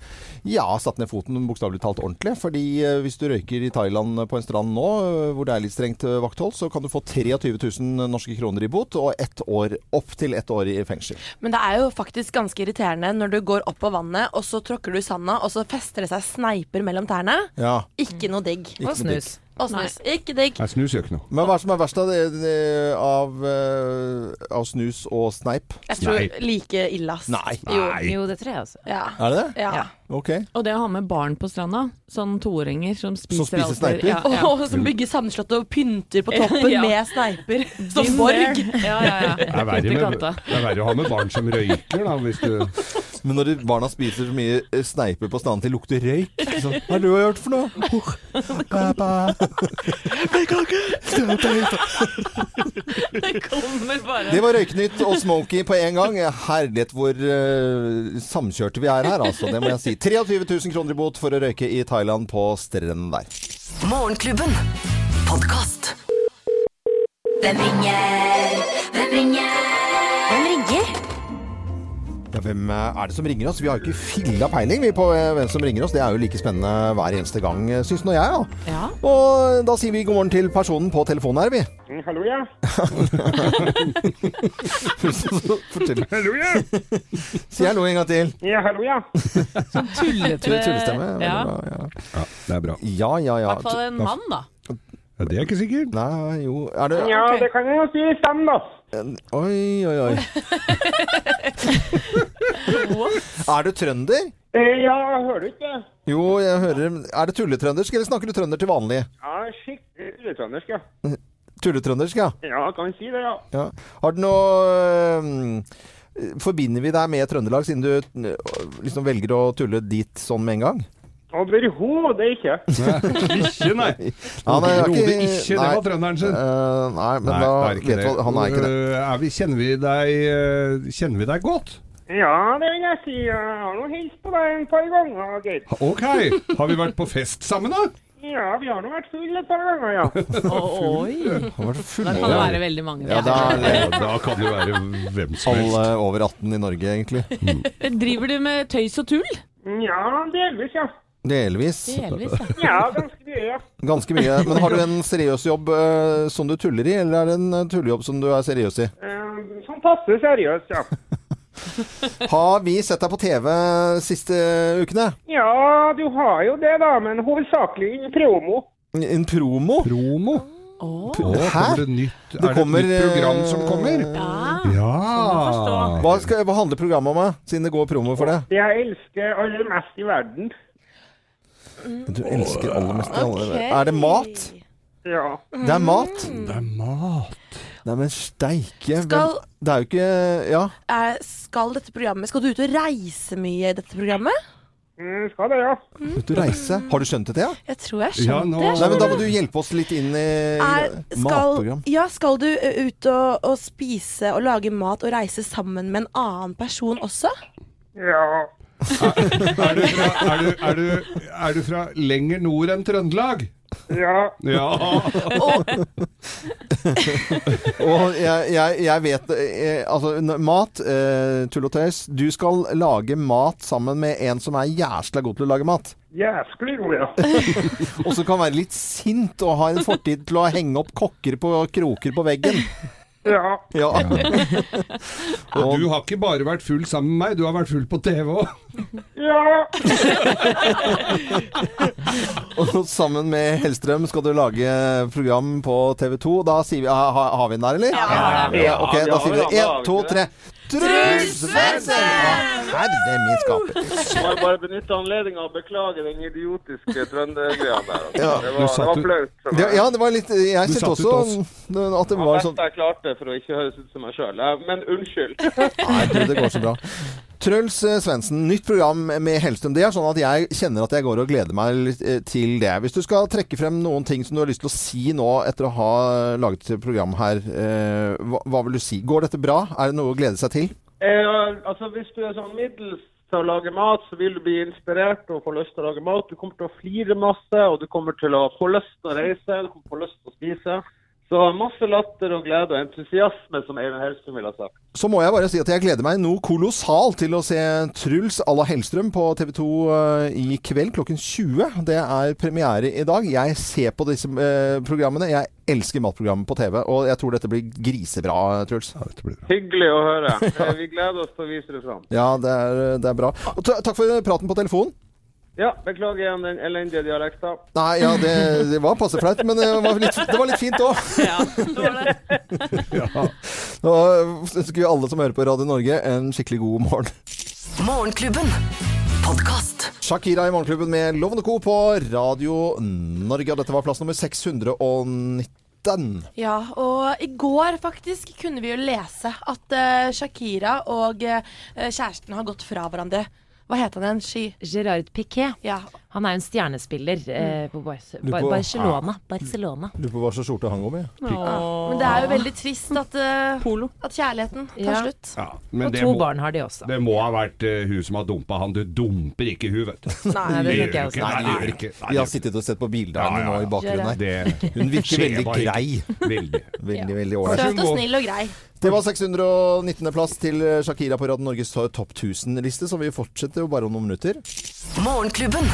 ja, satt ned foten bokstavelig talt ordentlig. Fordi eh, hvis du røyker i Thailand på en strand nå, eh, hvor det er litt strengt eh, vakthold, så kan du få 23 000 norske kroner i bot og ett år, opp til ett år i fengsel. Men det er jo faktisk ganske irriterende når du går opp på vannet, og så tråkker du i sanda, og så fester det seg sneiper mellom tærne. Ja. Ikke noe digg. Ikke Og noe snus. Og snus. Ikke digg. Jeg snus gjør ikke noe. Men hva er det som er verst av, det, det, av, eh, av snus og sneip? Jeg tror Nei. like ille, ass. Nei. Jo. Nei. Jo, det tror jeg også. Ja. Er det det? ja. Ok. Og det å ha med barn på stranda, sånn toåringer som spiser, spiser alt- sneiper? Ja, ja. Og som bygger sandslott og pynter på toppen Ja. med sneiper. Som Been borg. there. Ja, ja, ja. Det er, verre Fytti med, katta. det er verre å ha med barn som røyker, da, hvis du Men når de- barna spiser så mye eh, sneiper på stranden til det lukter røyk så, Hva har du gjort for noe? Oh, pappa. Det kommer bare Det var Røyknytt og Smokie på en gang. Herlighet hvor eh, samkjørte vi er her, altså. Det må jeg si. 23 000 kroner i bot for å røyke i Thailand på strenden der. Morgenklubben. Podkast. Hvem ringer? Hvem ringer? Hvem ringer? Ja, hvem eh, er det som ringer oss? Vi har jo ikke filla peiling vi på eh, hvem som ringer oss. Det er jo like spennende hver eneste gang, eh, syns nå jeg. Ja. Ja. Og da sier vi god morgen til personen på telefonen her, vi. Mm, Hallo, ja. Så fortell- Hallo, ja! Si hallo en gang til. Ja, hallo, ja. Tull- Tullestemme. veldig Eh, Ja. bra, Ja, Ja, det er bra. ja, ja. I ja. hvert fall en mann, da. Ja, det er ikke sikkert. Nei, jo Er det Ja, det kan jeg jo si i stand, da. Oi, oi, oi. er du trønder? Eh, Ja, hører du ikke det? Jo, jeg hører Er det tulletrøndersk, eller snakker du trønder til vanlig? Ja, skikkelig utrøndersk, ja. Tulletrøndersk, ja. Ja, kan jeg si det, ja. ja. Har du noe øhm, Forbinder vi deg med Trøndelag, siden du øh, liksom velger å tulle dit sånn med en gang? Overhodet ikke. Ikke, nei. Ja, nei, jeg har ikke- Overhodet ikke. Det var nei. trønderen sin. Eh, nei, men Nei, da det er ikke vet det. du hva Han er ikke det. Øh, er vi, kjenner, vi deg, øh, kjenner vi deg godt? Ja, det vil jeg si. Jeg har nå hilst på deg en par ganger, Geir. Ha- Ok, har vi vært på fest sammen da? Ja, vi har nå vært fulle et par ganger, ja. Oi. Han var full. Der kan det være veldig mange. Ja, da er det Ja, da kan det være hvem som alle helst. over 18 i Norge, egentlig. Driver du med tøys og tull? Ja, delvis, ja. Delvis. Delvis, ja. Ja, ganske mye, ja. Ganske mye. Men har du en seriøs jobb øh, som du tuller i, eller er det en øh, tullejobb som du er seriøs i? Eh, Sånn passe seriøst, ja. Har vi sett deg på TV siste ukene? Ja, du har jo det, da, men hovedsakelig i promo. En promo? Promo? Åh. Å, Hæ? kommer det nytt, er kommer, eh, det et nytt program som kommer? Ja. Ja. Hva, skal, hva handler programmet om, da? siden det går promo for det? Det jeg elsker aller mest i verden. Du elsker aller mest i alle Ok. Er det mat? Ja. Det er mat. Det er mat. Nei, men steike Skal- hvem- Det er jo ikke Ja. Er, skal dette programmet Skal du ut og reise mye i dette programmet? Mm, skal det, ja. Ut og reise. Har du skjønt det, Thea? Jeg tror jeg Ja, skjønner nå- det. Nei, men da må du hjelpe oss litt inn i Er, skal, matprogram. ja, skal du ø, ut og, og spise og lage mat og reise sammen med en annen person også? Ja. Er du fra, er du, er du, er du fra lenger nord enn Trøndelag? Ja. Ja. Og jeg, jeg, jeg vet eh, Altså, n- mat, eh, tull og tøys. Du skal lage mat sammen med en som er jæsla god til å lage mat. Jæsklig god, ja. Og som kan være litt sint og ha en fortid til å henge opp kokker på kroker på veggen. Ja. Ja. Og du har ikke bare vært full sammen med meg, du har vært full på TV òg. Ja. Og sammen med Hellstrøm skal du lage program på TV 2. Da sier vi ha, ha, Har vi den der, eller? Ja, ok, da sier vi det. Én, to, tre. Truls Svendsen! Herre min skaper. Må jeg bare benytte anledningen og beklage den idiotiske trøndergreia der. Altså. Ja. det var, Du det satt var ut- flaut. for meg. Det, ja, det var litt Jeg Du satt syntes ut også at Det det var var det sånn beste jeg klarte for å ikke høres ut som meg sjøl. Men unnskyld. Nei, du, det går så bra. Truls eh, Svendsen, nytt program med Hellstrøm. Det er sånn at jeg kjenner at jeg går og gleder meg litt, eh, til det. Hvis du skal trekke frem noen ting som du har lyst til å si nå etter å ha eh, laget et program her, eh, hva, hva vil du si? Går dette bra? Er det noe å glede seg til? Eh, altså, hvis du er sånn middels til å lage mat, så vil du bli inspirert og få lyst til å lage mat. Du kommer til å flire masse, og du kommer til å få lyst til å reise, du kommer til å få lyst til å spise. Så masse latter og glede og entusiasme, som Eivind Hellstrøm ville ha sagt. Så må jeg bare si at jeg gleder meg noe kolossalt til å se Truls à la Hellstrøm på TV 2 eh, i kveld klokken 20. Det er premiere i dag. Jeg ser på disse eh, programmene. Jeg elsker matprogrammet på TV, og jeg tror dette blir grisebra, Truls. Hyggelig å høre. Eh, Vi gleder oss til å vise det fram. Ja, det er, eh, det er bra. Og ta- takk for praten på telefonen. Ja, beklager igjen den elendige dialekta. Nei, ja, det, det var passe flaut, men det var litt, det var litt fint òg. Ja, det var det. Nå ønsker vi alle som hører på Radio Norge, en skikkelig god morgen. Morgenklubben. Podkast. Shakira i Morgenklubben med Lovende Co. på Radio Norge. Og dette var plass nummer 619. Ja, og i går faktisk kunne vi jo lese at eh, Shakira og eh, kjæresten har gått fra hverandre. Hva het han igjen? Sky? Gerard Piquet. Ja. Han er jo en stjernespiller eh, på Bar- Du Bar- på- Barcelona. Barcelona. Lurer på hva slags skjorte han går med. Men det er jo veldig trist at, eh, Polo. at kjærligheten tar Ja. slutt. Ja, men Og det to må, barn har de også. det må ha vært eh, hun som har dumpa han. Du dumper ikke hun, vet du. Nei, det tenker jeg gjør også. ikke. Nei, det gjør ikke. Nei, Vi har sittet og sett på bilder av Ja, henne ja, nå i ja. bakgrunnen her. det, Hun virker skjer veldig bare ikke. grei. Veldig. Veldig, veldig ålreit. Søt og snill og grei. Det var 619. plass til Shakira på Radio Norges topp 1000-liste, som vi fortsetter jo bare om noen minutter. Morgenklubben.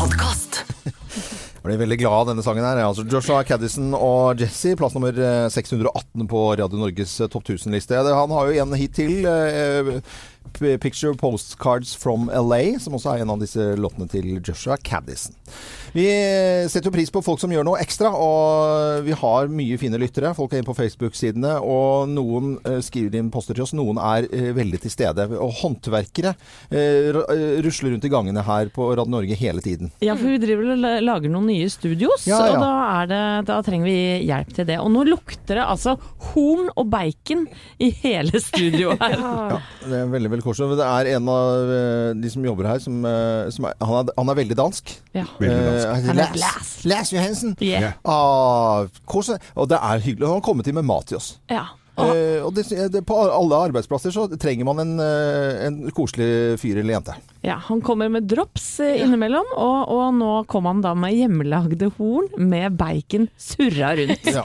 Podkast. Jeg ble veldig glad av denne sangen her. Altså Joshua Caddison og Jesse, plass nummer eh, 618 på Radio Norges eh, topp 1000-liste. Det- Han har jo en hit til. eh, P- 'Picture Postcards from LA', som også er en av disse låtene til Joshua Caddison. Vi eh, setter jo pris på folk som gjør noe ekstra, og vi har mye fine lyttere. Folk er inne på Facebook-sidene, og noen eh, skriver inn poster til oss. Noen er eh, veldig til stede. Og håndverkere eh, ra- eh, rusler rundt i gangene her på Radio Norge hele tiden. Ja, for vi driver og la- lager noen nye studios, Ja, ja. og da, er det, da trenger vi hjelp til det. Og nå lukter det altså horn og bacon i hele studioet her. Det er veldig, veldig koselig. Men Det er en av eh, de som jobber her, som, eh, som er, han, er, han er veldig dansk. Ja. Veldig Eh, dansk. han Han heter er Lars. Lars. Lars Johansen. Yeah. Ah, koselig. Og det er hyggelig. Han har kommet inn med mat til oss. Ja. Og, Eh, og det, det, på alle arbeidsplasser så trenger man en, eh, en koselig fyr eller jente. ja, han kommer med drops eh, innimellom, og, og nå kom han da med hjemmelagde horn med bacon surra rundt. Ja.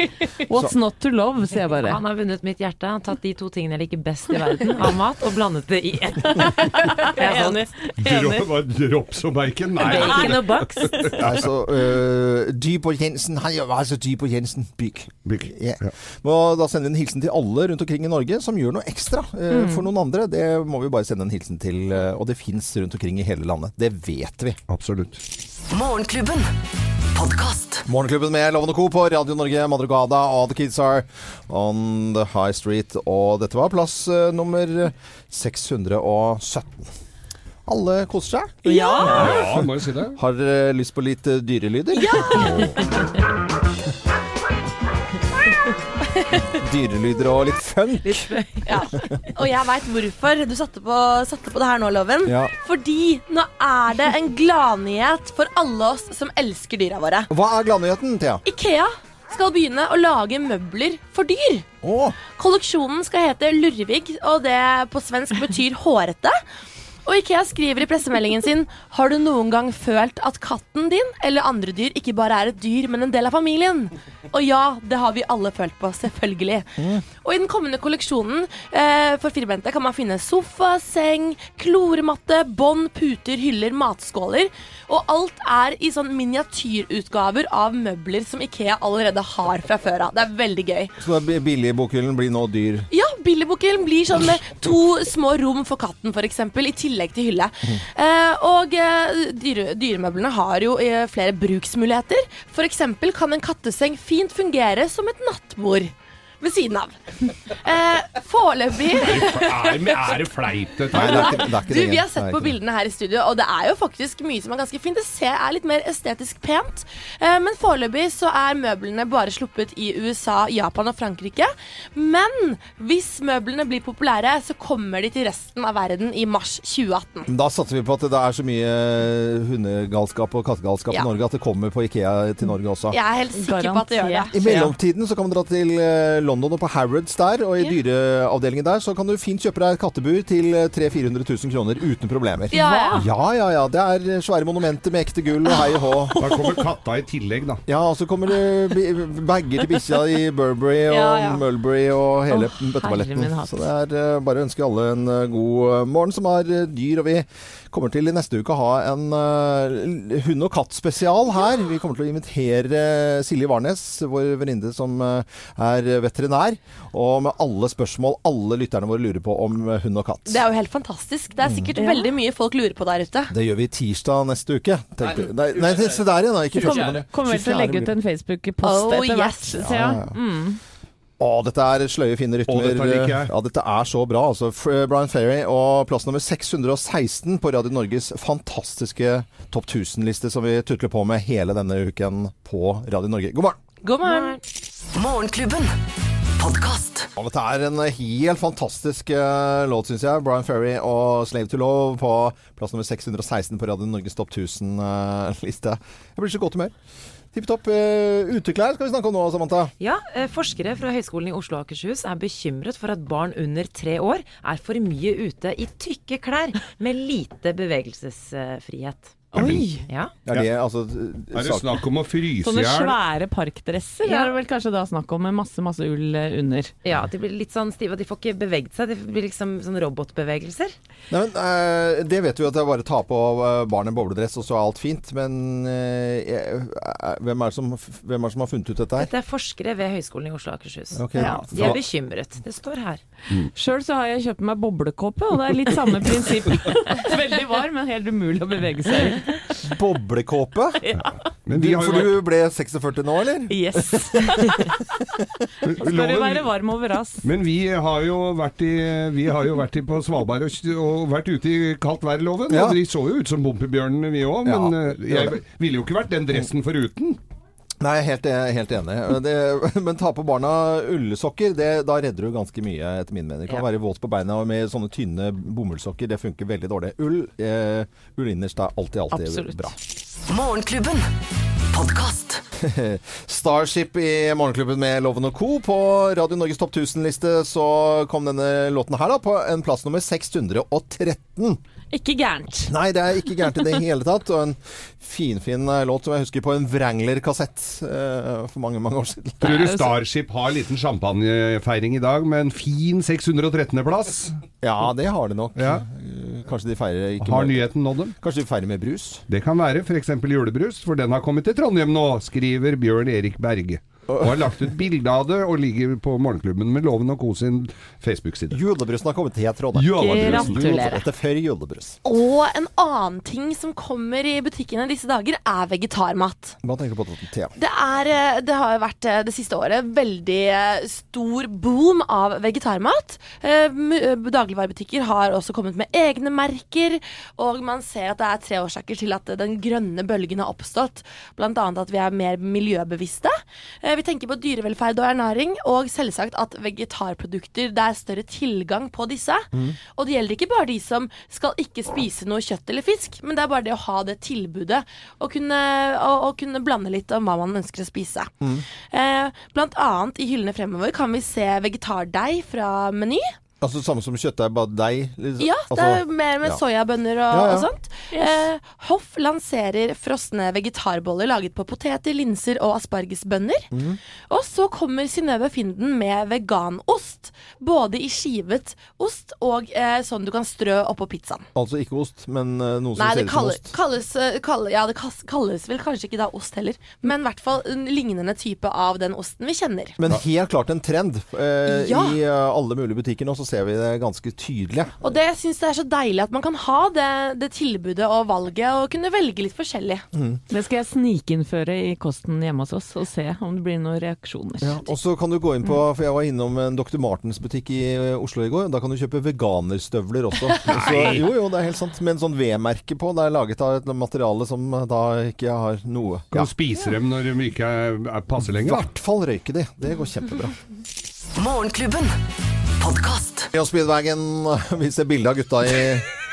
What's not to love, sier jeg bare. Han har vunnet mitt hjerte. Han har tatt de to tingene jeg liker best i verden, av mat, og blandet det i ett. Enig. Eh, Enig. Dro- Drops og bacon? Nei. Bacon og bakst. Altså, eh, Dybo Jensen. Han var altså Dybo Jensen. Bygg. Bygg. Ja. Og da sender vi en hilsen til alle rundt omkring i Norge som gjør noe ekstra eh, for noen andre. Det må vi bare sende en hilsen til, eh, og det fins rundt omkring i hele landet. Det vet vi. Absolutt. Morgenklubben. Podkast. Morgenklubben med Loven og Co. på Radio Norge, Madrugada og The Kids Are On The High Street. Og dette var plass eh, nummer 617. Alle koser seg. Ja, må jo si det. Har dere lyst på litt eh, dyrelyder? Ja! dyrelyder og litt funk. Ja. Og jeg veit hvorfor du satte på, satte på det her nå, Loven. Ja. Fordi nå er det en gladnyhet for alle oss som elsker dyra våre. Hva er gladnyheten, Thea? Ikea skal begynne å lage møbler for dyr. Kolleksjonen skal hete Lurvig, og det på svensk betyr hårete. Og Ikea skriver i pressemeldingen sin Har du noen gang følt at katten din eller andre dyr ikke bare er et dyr, men en del av familien? Og ja, det har vi alle følt på, selvfølgelig. Og i den kommende kolleksjonen eh, for firbente kan man finne sofa, seng, klorematte, bånd, puter, hyller, matskåler. Og alt er i sånn miniatyrutgaver av møbler som Ikea allerede har fra før av. Det er veldig gøy. Så den billige bokhyllen blir nå dyr. Ja, Billybukkelen blir sånn med to små rom for katten, f.eks., i tillegg til hylle. Eh, og eh, dyre, dyremøblene har jo eh, flere bruksmuligheter. F.eks. kan en katteseng fint fungere som et nattbord ved siden av. Eh, Foreløpig Er, er det fleip, dette? Nei, det er ikke- det er ikke du, det. Vi har Det sett er på ikke det. bildene her i studio, og det er jo faktisk mye som er ganske fint. Det ser, er litt mer estetisk pent. Eh, men foreløpig så er møblene bare sluppet i USA, Japan og Frankrike. Men hvis møblene blir populære, så kommer de til resten av verden i mars 2018. Men Da satser vi på at det er så mye eh, hundegalskap og kattegalskap Ja. i Norge at det kommer på Ikea til Norge også. Jeg er helt sikker på at det gjør det. I mellomtiden så kan du dra til eh, London og på Harrods der, og i Ja. dyreavdelingen der så kan du fint kjøpe deg et kattebur til eh, 300 000-400 000 kroner uten problemer. Ja, ja. ja, ja, ja. Det er eh, svære monumenter med ekte gull og hei og hå. Da kommer katta i tillegg, da. Ja, og så kommer det bi- bager til bikkja i Burberry og Ja, ja. Mulberry og hele Å, herre bøtteballetten. min hatt. Så det er eh, bare å ønske alle en eh, god eh, morgen som har eh, dyr. Og vi kommer til i neste uke å ha en eh, hund- og katt-spesial her. Vi kommer til å invitere eh, Silje Warnes, vår venninne som eh, er veterinær, og med alle spørsmål alle lytterne våre lurer på om eh, hund og katt. Det er jo helt fantastisk. Det er sikkert veldig mye folk lurer på der ute. Det gjør vi tirsdag neste uke. tenkte- Nei, nei, se der igjen, da. Ikke første, Kommer, men kommer vel til å 24. legge ut en Facebook-post Oh, etter hvert. yes. ser jeg. Ja, ja. Mm. Å, dette er sløye, fine rytmer. Å, dette liker jeg. Ja, dette er så bra. Altså, F- Brian Ferry og plass nummer 616 på Radio Norges fantastiske topp 1000-liste som vi tutler på med hele denne uken på Radio Norge. God morgen! God morgen. Morgenklubben. Podkast. Ja, dette er en helt fantastisk eh, låt, syns jeg. Brian Ferry og 'Slave to Love' på plass nummer 616 på Radio Norges topp 1000-liste. Jeg blir så godt humør. Tipp topp. eh, uteklær skal vi snakke om nå, Samantha. Ja, eh, Forskere fra Høgskolen i Oslo og Akershus er bekymret for at barn under tre år er for mye ute i tykke klær med lite bevegelsesfrihet. Oi! Ja. Er det, altså, Er det snakk om å fryse i Sånne hjel? svære parkdresser Ja. er det vel kanskje da snakk om, med masse, masse ull eh, under. Ja, at de blir litt sånn stive, og de får ikke beveget seg. Det blir liksom sånn robotbevegelser. Nei, men, eh, det vet vi jo at det er bare å ta på eh, barnet bobledress, og så er alt fint. Men eh, jeg- eh, hvem, er det som, hvem er det som har funnet ut dette her? Dette er forskere ved Høgskolen i Oslo og Akershus. Ok. Ja, de Ja. er bekymret. Det står her. Sjøl så har jeg kjøpt meg boblekåpe, og det er litt samme prinsipp. Veldig varm, men helt umulig å bevege seg i. Boblekåpe? Men Du, vi har jo for du ble 46 nå, eller? Yes. Skal du Loven- være varm over ass. Men vi har jo vært, i, vi har jo vært i på Svalbard og, og vært ute i kaldt vær, Loven. Ja. Og de så jo ut som bompebjørnene, vi òg. Men Ja, eh, det gjør jeg ville jo ikke vært den dressen foruten. Nei, jeg er helt, jeg er helt enig. Det, men ta på barna ullsokker, det, da redder du ganske mye, etter min mening. Du kan Ja. være våt på beina og med sånne tynne bomullssokker. Det funker veldig dårlig. Ull, eh, ull innerst er alltid, alltid Absolutt. bra. Morgenklubben. Podkast. Starship i Morgenklubben med Loven og Co. På Radio Norges topp 1000-liste så kom denne låten her da på en plass nummer 613. Ikke gærent. Nei, det er ikke gærent i det hele tatt. Og en finfin eh, låt som jeg husker på en Wrangler-kassett eh, for mange, mange år siden. Tror du Starship har liten champagnefeiring i dag med en fin 613.-plass? Ja, det har det nok. Eh, Kanskje de feirer ikke Har med- nyheten nådd dem? Kanskje de feirer med brus? Det kan være f.eks. julebrus, for den har kommet til Trondheim nå, skriver Bjørn Erik Berge. Og har lagt ut bilde av det, og ligger på Morgenklubben med Loven og Co. sin Facebook-side. Julebrusen har kommet til Trondheim. Julebrusen. Gratulerer. Dette er før julebrus. Og en annen ting som kommer i butikkene disse dager, er vegetarmat. Hva tenker du på, Thea? Det, er, eh, det har jo vært eh, det siste året veldig eh, stor boom av vegetarmat. Eh, mu- eh, Dagligvarebutikker har også kommet med egne merker, og man ser at det er tre årsaker til at eh, den grønne bølgen har oppstått. Blant annet at vi er mer miljøbevisste. Eh, vi tenker på dyrevelferd og ernæring, og selvsagt at vegetarprodukter, det er større tilgang på disse. Mm. Og det gjelder ikke bare de som skal ikke spise noe kjøtt eller fisk, men det er bare det å ha det tilbudet, og kunne, og, og kunne blande litt om hva man ønsker å spise. Mm. Eh, blant annet i hyllene fremover kan vi se vegetardeig fra Meny. Altså samme som kjøttdeig, bare deig? liksom. Ja, det Altså, er mer med ja. soyabønner og, Ja, ja. og sånt. Eh, Hoff lanserer frosne vegetarboller laget på poteter, linser og aspargesbønner. Mhm. Mm. Og så kommer Synnøve Finden med veganost. Både i skivet ost og eh, sånn du kan strø oppå pizzaen. Altså ikke ost, men eh, noe som Nei, ser det ut som kalle- ost. kalles, eh, kalle- ja, det kas- kalles vel kanskje ikke da ost heller, men i hvert fall en lignende type av den osten vi kjenner. Men helt klart en trend. eh, Ja. I eh, alle mulige butikker nå så ser vi det ganske tydelig. Og det syns jeg er så deilig at man kan ha det, det tilbudet og valget, og kunne velge litt forskjellig. Det skal jeg snikinnføre i kosten hjemme hos oss, og se om det blir noen reaksjoner. Og så kan du gå inn på, for jeg var innom en Dr. Martens butikk i eh, Oslo i går, da kan du kjøpe veganerstøvler også. Så, Nei. jo, jo, det er helt sant. Med en sånn V-merke på. Det er laget av et materiale som eh, da ikke har noe Kan du spise dem når de ikke er, er passer I lenger? da? hvert fall røyke de. Det går kjempebra. Morgenklubben. Podkast. Ja, Speedwagen, vi ser bilde av gutta i,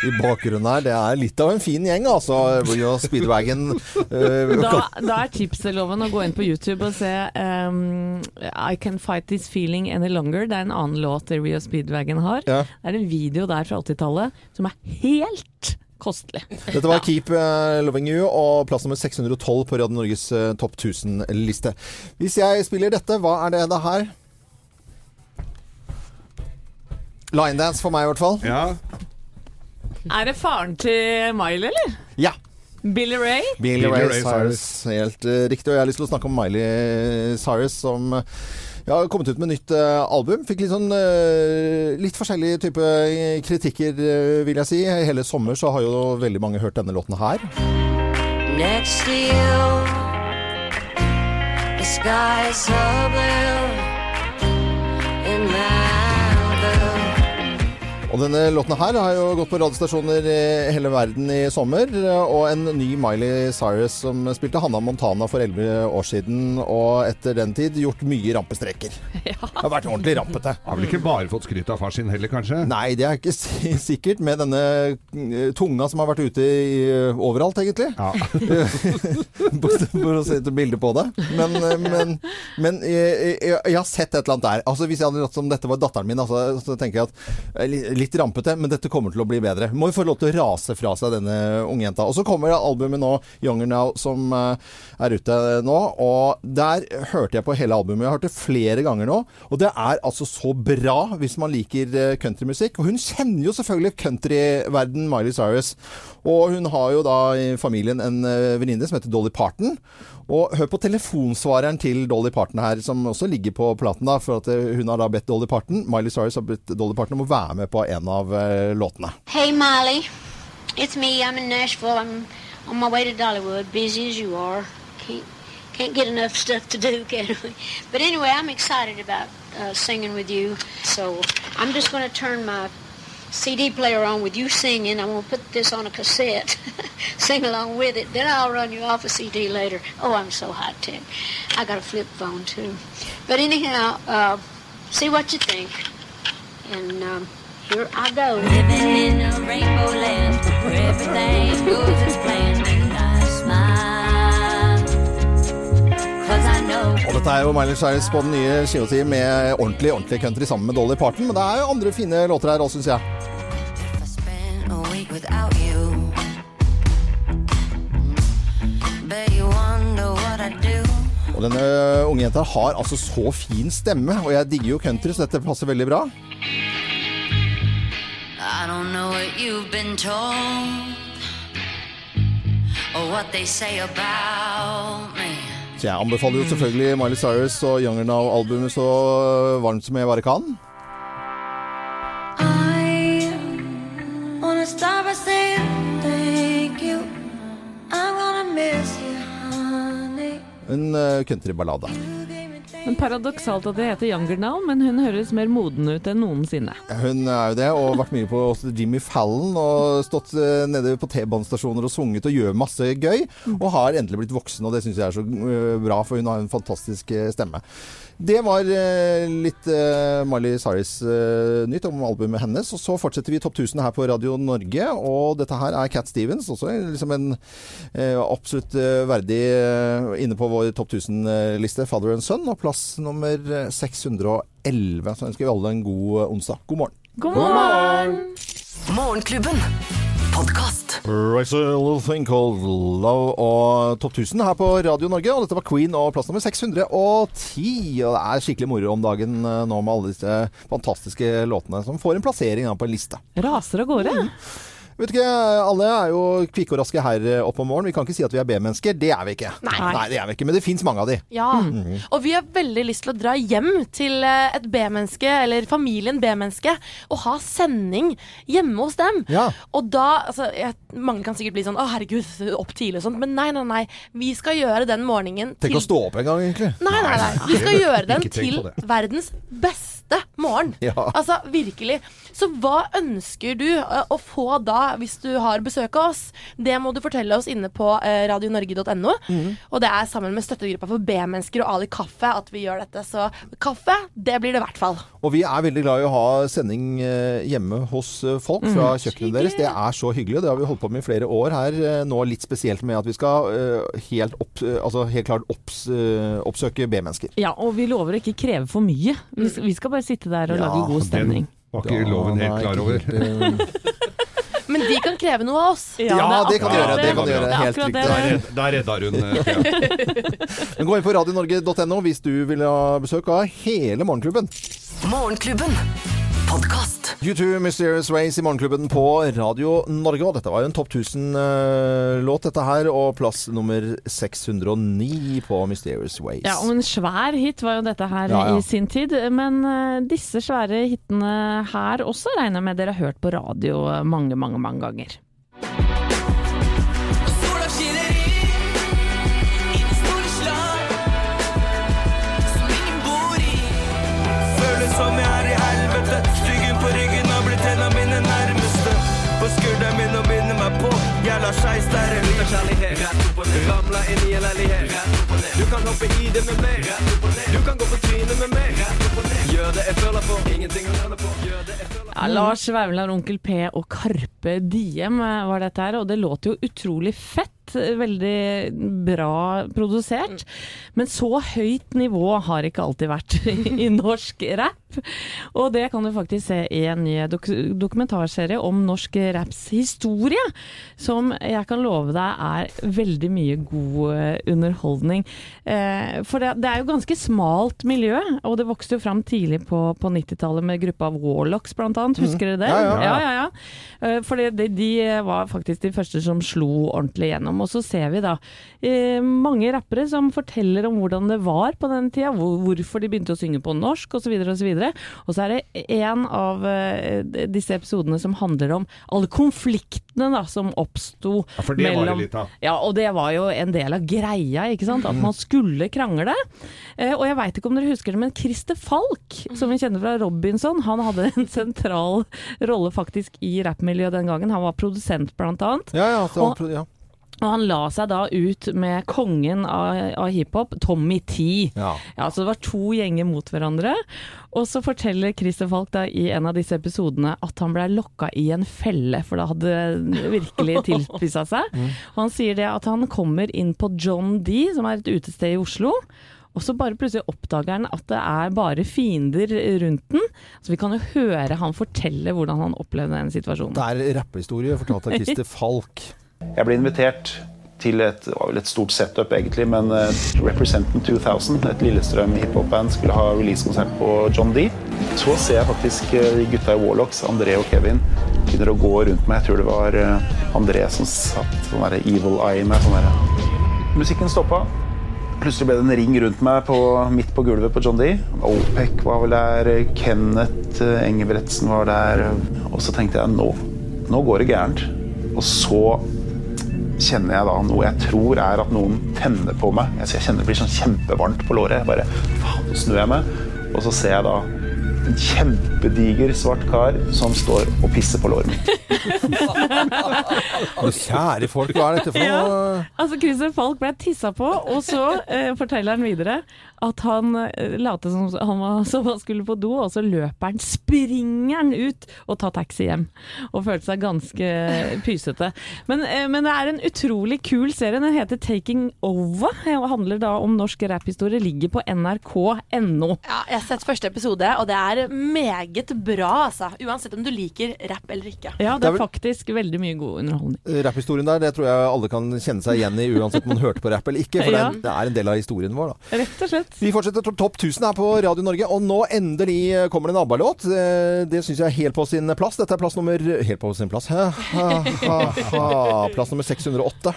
i bakgrunnen her. Det er litt av en fin gjeng, altså. Hvor jo Speedwagen eh, Da, da er tipseloven å gå inn på YouTube og se ehm, I Can Fight This Feeling Any Longer. Det er en annen låt The Rio Speedwagon har. Ja. Det er en video der fra 80-tallet som er helt kostelig. Dette var Keep eh, Loving You og plass nummer 612 på Radio Norges eh, topp 1000-liste. Hvis jeg spiller dette, hva er det det her? Linedance for meg i hvert fall. Ja. Er det faren til Miley, eller? ja. Billy Ray? Billy Billy Ray, Ray Cyrus. Helt eh, riktig. Og jeg har lyst til å snakke om Miley Cyrus, som eh, ja, har kommet ut med nytt eh, album. Fikk litt sånn eh, litt forskjellige type kritikker, eh, vil jeg si. Hele sommer så har jo veldig mange hørt denne låten her. Next to you, the sky is so blue in Malibu. Og denne låten her har jo gått på radiostasjoner i hele verden i sommer. Og en ny Miley Cyrus som spilte Hanna Montana for 11 år siden, og etter den tid gjort mye rampestreker. Det har vært ordentlig rampete. Har vel ikke bare fått skryt av far sin heller, kanskje? Nei, det er ikke si- sikkert med denne eh, tunga som har vært ute i, eh, overalt, egentlig. For å sette bilde på det. Men, eh, men, men eh, jeg, jeg, jeg har sett et eller annet der. Altså, hvis jeg hadde latt som dette var datteren min, altså, så tenker jeg at eh, li- litt rampete, men dette kommer til å bli bedre. Må jo få lov til å rase fra seg denne unge jenta. Og så kommer albumet nå, 'Younger Now', som eh, er ute nå. Og der hørte jeg på hele albumet. Jeg har hørt det flere ganger nå. Og det er altså så bra hvis man liker eh, countrymusikk. Og hun kjenner jo selvfølgelig countryverden Miley Cyrus. Og hun har jo da i familien en eh, venninne som heter Dolly Parton. Og hør på telefonsvareren til Dolly Parton her, som også ligger på platen, da, for at eh, hun har da bedt Dolly Parton Miley Cyrus har bedt Dolly Parton om å være med på en av eh, låtene. Hey, Molly. It's me. I'm in Nashville. I'm on my way to Dollywood, busy as you are. Can't, can't get enough stuff to do, can we? But anyway, I'm excited about uh, singing with you. So I'm just going to turn my CD player on with you singing. I'm going to put this on a cassette, sing along with it. Then I'll run you off a CD later. Oh, I'm so high tech. I got a flip phone, too. But anyhow, uh, see what you think. And um, here I go. Living in a rainbow land where everything goes as planned. I smile, cause I know. Og dette er jo Miley Cyrus på den nye skiva si med ordentlig ordentlig country sammen med Dolly Parton. Men det er jo andre fine låter her òg, syns jeg. A week without you. Bet you wonder what I do. Og denne unge jenta har altså så fin stemme, og jeg digger jo country, så dette passer veldig bra. I don't know what you've been told or what they say about me. Så jeg anbefaler jo selvfølgelig Miley Cyrus og Younger Now-albumet så varmt som jeg bare kan. I wanna start by saying thank you. I'm gonna miss you, honey. En eh, countryballade. You gave me things Men paradoksalt at det heter Younger Now, men hun høres mer moden ut enn noensinne. Hun er jo det, og har vært mye på også Jimmy Fallon og stått eh, nede på T-banestasjoner og sunget og gjør masse gøy. Og har endelig blitt voksen, og det syns jeg er så eh, bra, for hun har en fantastisk eh, stemme. Det var eh, litt eh, Miley Cyrus eh, nytt om albumet hennes. Og så fortsetter vi Topp 1000 her på Radio Norge, og dette her er Cat Stevens, også en- liksom en eh, absolutt eh, verdig eh, inne på vår Topp 1000-liste, Father and Son, og plass nummer eh, 611. Så ønsker vi alle en god eh, onsdag. God morgen. God morgen! Morgenklubben. Podkast. Right, so a little thing called love og Topp 1000 her på Radio Norge. Og dette var Queen og plass nummer 610. Og det er skikkelig moro om dagen eh, nå med alle disse fantastiske låtene som får en plassering da på en liste. Raser av gårde. Vet ikke, Alle er jo kvikke og raske her eh, opp om morgenen. Vi kan ikke si at vi er B-mennesker. Det er vi ikke. Nei. det er vi ikke, Men det fins mange av de. Ja. Mhm. Og vi har veldig lyst til å dra hjem til eh, et B-menneske, eller familien B-menneske, og ha sending hjemme hos dem. Og da altså, jeg, Mange kan sikkert bli sånn 'Å, herregud, opp tidlig' og sånt, men nei, nei, nei. Vi skal gjøre den morgenen Tenk til å stå opp en gang, egentlig. Nei, nei, nei. Vi skal gjøre den Ikke tenk til på det. verdens beste morgen. Ja. Altså, virkelig. Så hva ønsker du eh, å få da, hvis du har besøk av oss? Det må du fortelle oss inne på eh, radionorge.no. Mhm. Og det er sammen med støttegruppa for B-mennesker og Ali Kaffe at vi gjør dette. Så kaffe, det blir det i hvert fall. Og vi er veldig glad i å ha sending eh, hjemme hos eh, folk fra Mm. kjøkkenet deres. Det er så hyggelig. Det har vi holdt på med i flere år her. eh, Nå litt spesielt med at vi skal eh, helt, opp, eh, altså helt klart opps, eh, oppsøke B-mennesker. Ja, og vi lover å ikke kreve for mye. Vi skal, vi skal bare sitte der og lage god stemning. Den var ikke loven Ah, helt klar over. Men de kan kreve noe av oss. Ja, Ja, det er det kan de akkurat gjøre, det det. kan de gjøre, er helt akkurat riktig. det. Nei, Der, der redda hun eh, Thea. eh. Men gå inn på radionorge.no hvis du vil ha besøk av hele Morgenklubben. Morgenklubben. Podkast. U2 Mysterious Ways i Morgenklubben på Radio Norge. Og dette var jo en topp 1000-låt, dette her. Og plass nummer 609 på Mysterious Ways. Ja, og en svær hit var jo dette her Ja, ja. i sin tid. Men eh, disse svære hitene her også regner jeg med dere har hørt på radio mange, mange, mange ganger. Sola skinner inn i det store slag som ingen bor i. Føles som jeg er i helvete. Styggen på ryggen har blitt en av mine nærmeste. På skulderen min og binder meg på. Jeg lar seg stære ut av kjærlighet. Rett opp og ned. Ramla inn i en leilighet. Rett opp og ned. Du kan hoppe i det med meg. Rett opp og ned. Du kan gå på trynet med meg. Rett opp og ned. Gjør det jeg føler på. Ingenting å føle på. Gjør det jeg føler Ja, Lars Vaular, Onkel P og Karpe Diem eh, var dette her, og det låt jo utrolig fett. Veldig bra produsert. Men så høyt nivå har ikke alltid vært i norsk rap. Og det kan du faktisk se i en ny dok dokumentarserie om norsk raps historie, som jeg kan love deg er veldig mye god eh, underholdning. Eh, For det, det er jo ganske smalt miljø, og det vokste jo fram tidlig på, på 90-tallet med gruppa Warlocks blant annet. Mm. Husker dere det? Ja, ja, ja. ja, ja, ja. Eh, For det, de, de var faktisk de første som slo ordentlig gjennom. Og så ser vi da eh, mange rappere som forteller om hvordan det var på den tida, hvor, hvorfor de begynte å synge på norsk osv. Og, så videre. og så er det en av eh, de- disse episodene som handler om alle konfliktene da, som oppsto Ja, for det var det litt av. Mm. ja, og det var jo en del av greia, ikke sant? At man skulle krangle. Eh, og jeg veit ikke om dere husker det, men Christer Falk, som vi kjenner fra Robinson, han hadde en sentral rolle faktisk i rappmiljøet den gangen. Han var produsent, blant annet. Ja, ja, det var Og- pro- ja. og han la seg da ut med kongen av, av hiphop, Tommy T. Ja. så det var to gjenger mot hverandre. Og så forteller Christer Falk da i en av disse episodene at han blei lokka i en felle, for det hadde virkelig tilspissa seg. Mm. Og han sier det at han kommer inn på John D, som er et utested i Oslo. Og så bare plutselig oppdager han at det er bare fiender rundt den. Så vi kan jo høre han fortelle hvordan han opplevde den situasjonen. Det er rappehistorie fortalt av Christer Falk. Jeg ble invitert til et, det var vel et stort setup, egentlig, men eh, Representant 2000, et Lillestrøm hiphop-band, skulle ha releasekonsert på John D. Så ser jeg faktisk eh, de gutta i Warlocks, André og Kevin, begynner å gå rundt meg. Jeg tror det var eh, André som satt sånn der evil eye med sånn der. Musikken stoppa. Plutselig ble det en ring rundt meg på, midt på gulvet på John D. Opec var vel der, Kenneth eh, Engebretsen eh, var der. Og så tenkte jeg nå, nå går det gærent. Og så kjenner jeg da noe jeg tror er at noen tenner på meg. Jeg jeg kjenner det blir sånn kjempevarmt på låret. Jeg bare, faen, så snur jeg meg, og så ser jeg da en kjempediger svart kar som står og pisser på låret mitt. Men kjære folk, hva er dette for noe? Ja. Altså, Christer Falk ble tissa på, og så eh, forteller han videre at han eh, lot som han, var, som han skulle på do, og så løper han, springer han ut og tar taxi hjem. Og følte seg ganske pysete. Men, eh, men det er en utrolig kul serie. Den heter 'Taking Over' og handler da om norsk rapphistorie. Ligger på nrk.no. Ja, jeg har sett første episode, og det er meget bra, altså. Uansett om du liker rapp eller ikke. Ja, det er faktisk veldig mye god underholdning. eh, Rapphistorien der, det tror jeg alle kan kjenne seg igjen i, uansett om man hørte på rapp eller ikke. For det Ja. er- det er en del av historien vår, da. Rett og slett. Vi fortsetter to- Topp 1000 her på Radio Norge, og nå endelig kommer det en ABBA-låt. Eh, Det syns jeg er helt på sin plass. Dette er plass nummer Helt på sin plass. Ha, ha, ha, ha. Plass nummer 608.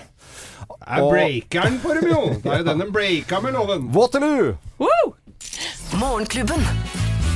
Er breakeren for dem, jo! Det er jo den de breaka med loven. Waterloo! Morgenklubben.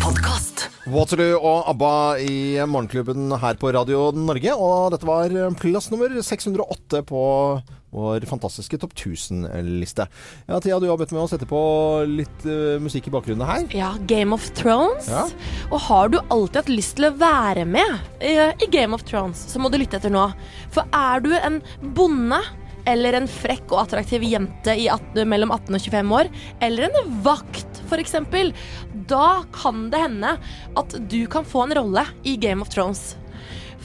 Podkast. Waterloo og ABBA i Morgenklubben her på Radio Norge. Og dette var plass nummer 608 på vår fantastiske topp 1000-liste. Ja, Thea, du har bedt meg å sette på litt eh, musikk i bakgrunnen her. Ja, Game of Thrones. Ja. Og har du alltid hatt lyst til å være med eh, i Game of Thrones, så må du lytte etter nå. For er du en bonde eller en frekk og attraktiv jente i at, mellom 18 og 25 år, eller en vakt f.eks., da kan det hende at du kan få en rolle i Game of Thrones.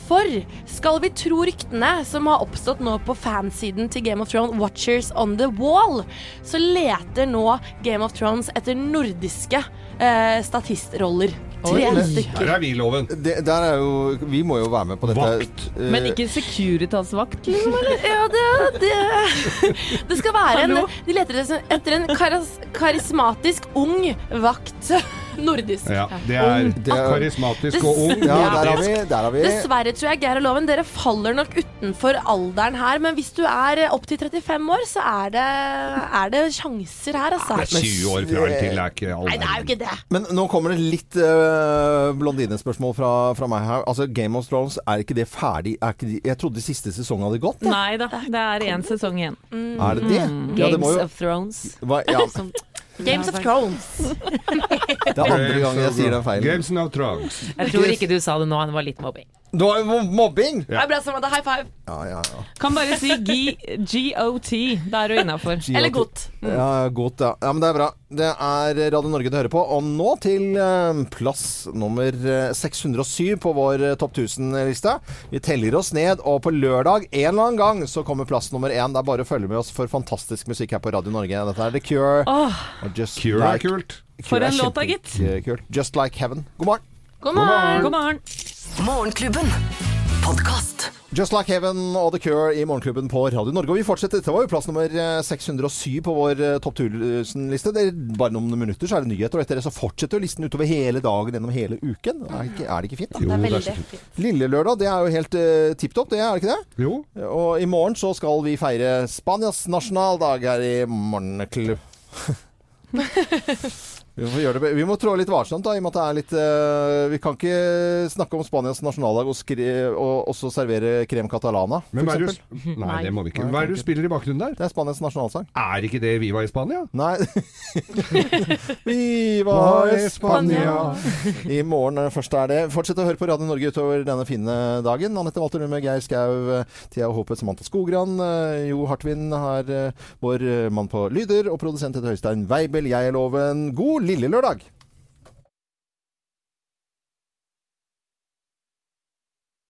For skal vi tro ryktene som har oppstått nå på fansiden til Game of Thrones Watchers on the Wall, så leter nå Game of Thrones etter nordiske eh, statistroller. Tre stykker. Der er vi, loven. Det, der er jo, vi må jo være med på dette. Eh, Vakt. Men ikke Securitas-vakt, liksom? eller? Ja, det, det, det skal være en Hallo? De leter etter en karas, karismatisk ung vakt. Nordisk. Ja, det er Det er- karismatisk og ung. Ja, der har vi. Der har vi. Dessverre tror jeg Geir og Loven dere faller nok utenfor alderen her, men hvis du er opptil 35 år, så er det, er det sjanser her, altså. Det er 20 år fra eller til, er ikke all Nei, det er jo ikke det. Men nå kommer det litt eh, blondinespørsmål fra, fra meg her. Altså, Game of Thrones, er ikke det ferdig? Er ikke de, jeg trodde siste sesong hadde gått. jeg. Nei da, det er én sesong igjen. Er det det? Ja, det må jo- Mm. Games of Thrones. Hva, ja, Games of Thrones. det er andre gang jeg sier den feilen. Games of Thrones. Jeg tror ikke du sa det nå, det var litt mobbing. Du har jo mobbing! Det er bra, Samantha. sånn, High five. Ja, ja, ja. Kan bare si G- GOT. Da er du innafor. Eller godt. Mm. Ja, godt, ja. ja. Men det er bra. Det er Radio Norge du hører på. Og nå til eh, plass nummer eh, 607 på vår eh, topp 1000-liste. Vi teller oss ned, og på lørdag en eller annen gang så kommer plass nummer én. Det er bare å følge med oss for fantastisk musikk her på Radio Norge. Dette er The Cure. Åh. og Just Cure er kult. For en er låt da, gitt. kjempekult. Just Like Heaven. God morgen. God morgen. God morgen. Morgenklubben. Podkast. Just Like Heaven og The Cure i Morgenklubben på Radio Norge. Og vi fortsetter. Dette var jo plass nummer eh, 607 på vår eh, topp 1000-liste. Det er Bare noen minutter så er det nyheter, og etter det så fortsetter jo listen utover hele dagen gjennom hele uken. Er, ikke, er det ikke fint? da? Jo, det er veldig så fint. Lille lørdag, det er jo helt uh, tipp topp, det er det ikke det? Jo. Og i morgen så skal vi feire Spanias nasjonaldag her i morgenklubb. Vi får gjøre det. Vi må trå litt varsomt, da, i og med at det er litt eh, Vi kan ikke snakke om Spanias nasjonaldag og, skri og også servere krem catalana, for Men hva er det eksempel. du Nei, det må vi ikke. Hva er det du spiller i bakgrunnen der? Det er Spanias nasjonalsang. Er ikke det Viva i Spania? Nei Viva Spania! I morgen eh, først er det. Fortsett å høre på Radio Norge utover denne fine dagen. Anette Walter Numme, Geir Skau, eh, Thea Håpet, Samantha Skogran, eh, Jo Hartvin har eh, vår eh, mann på lyder, og produsent heter Høystein Weibel. Jeg er Loven. God lille lørdag!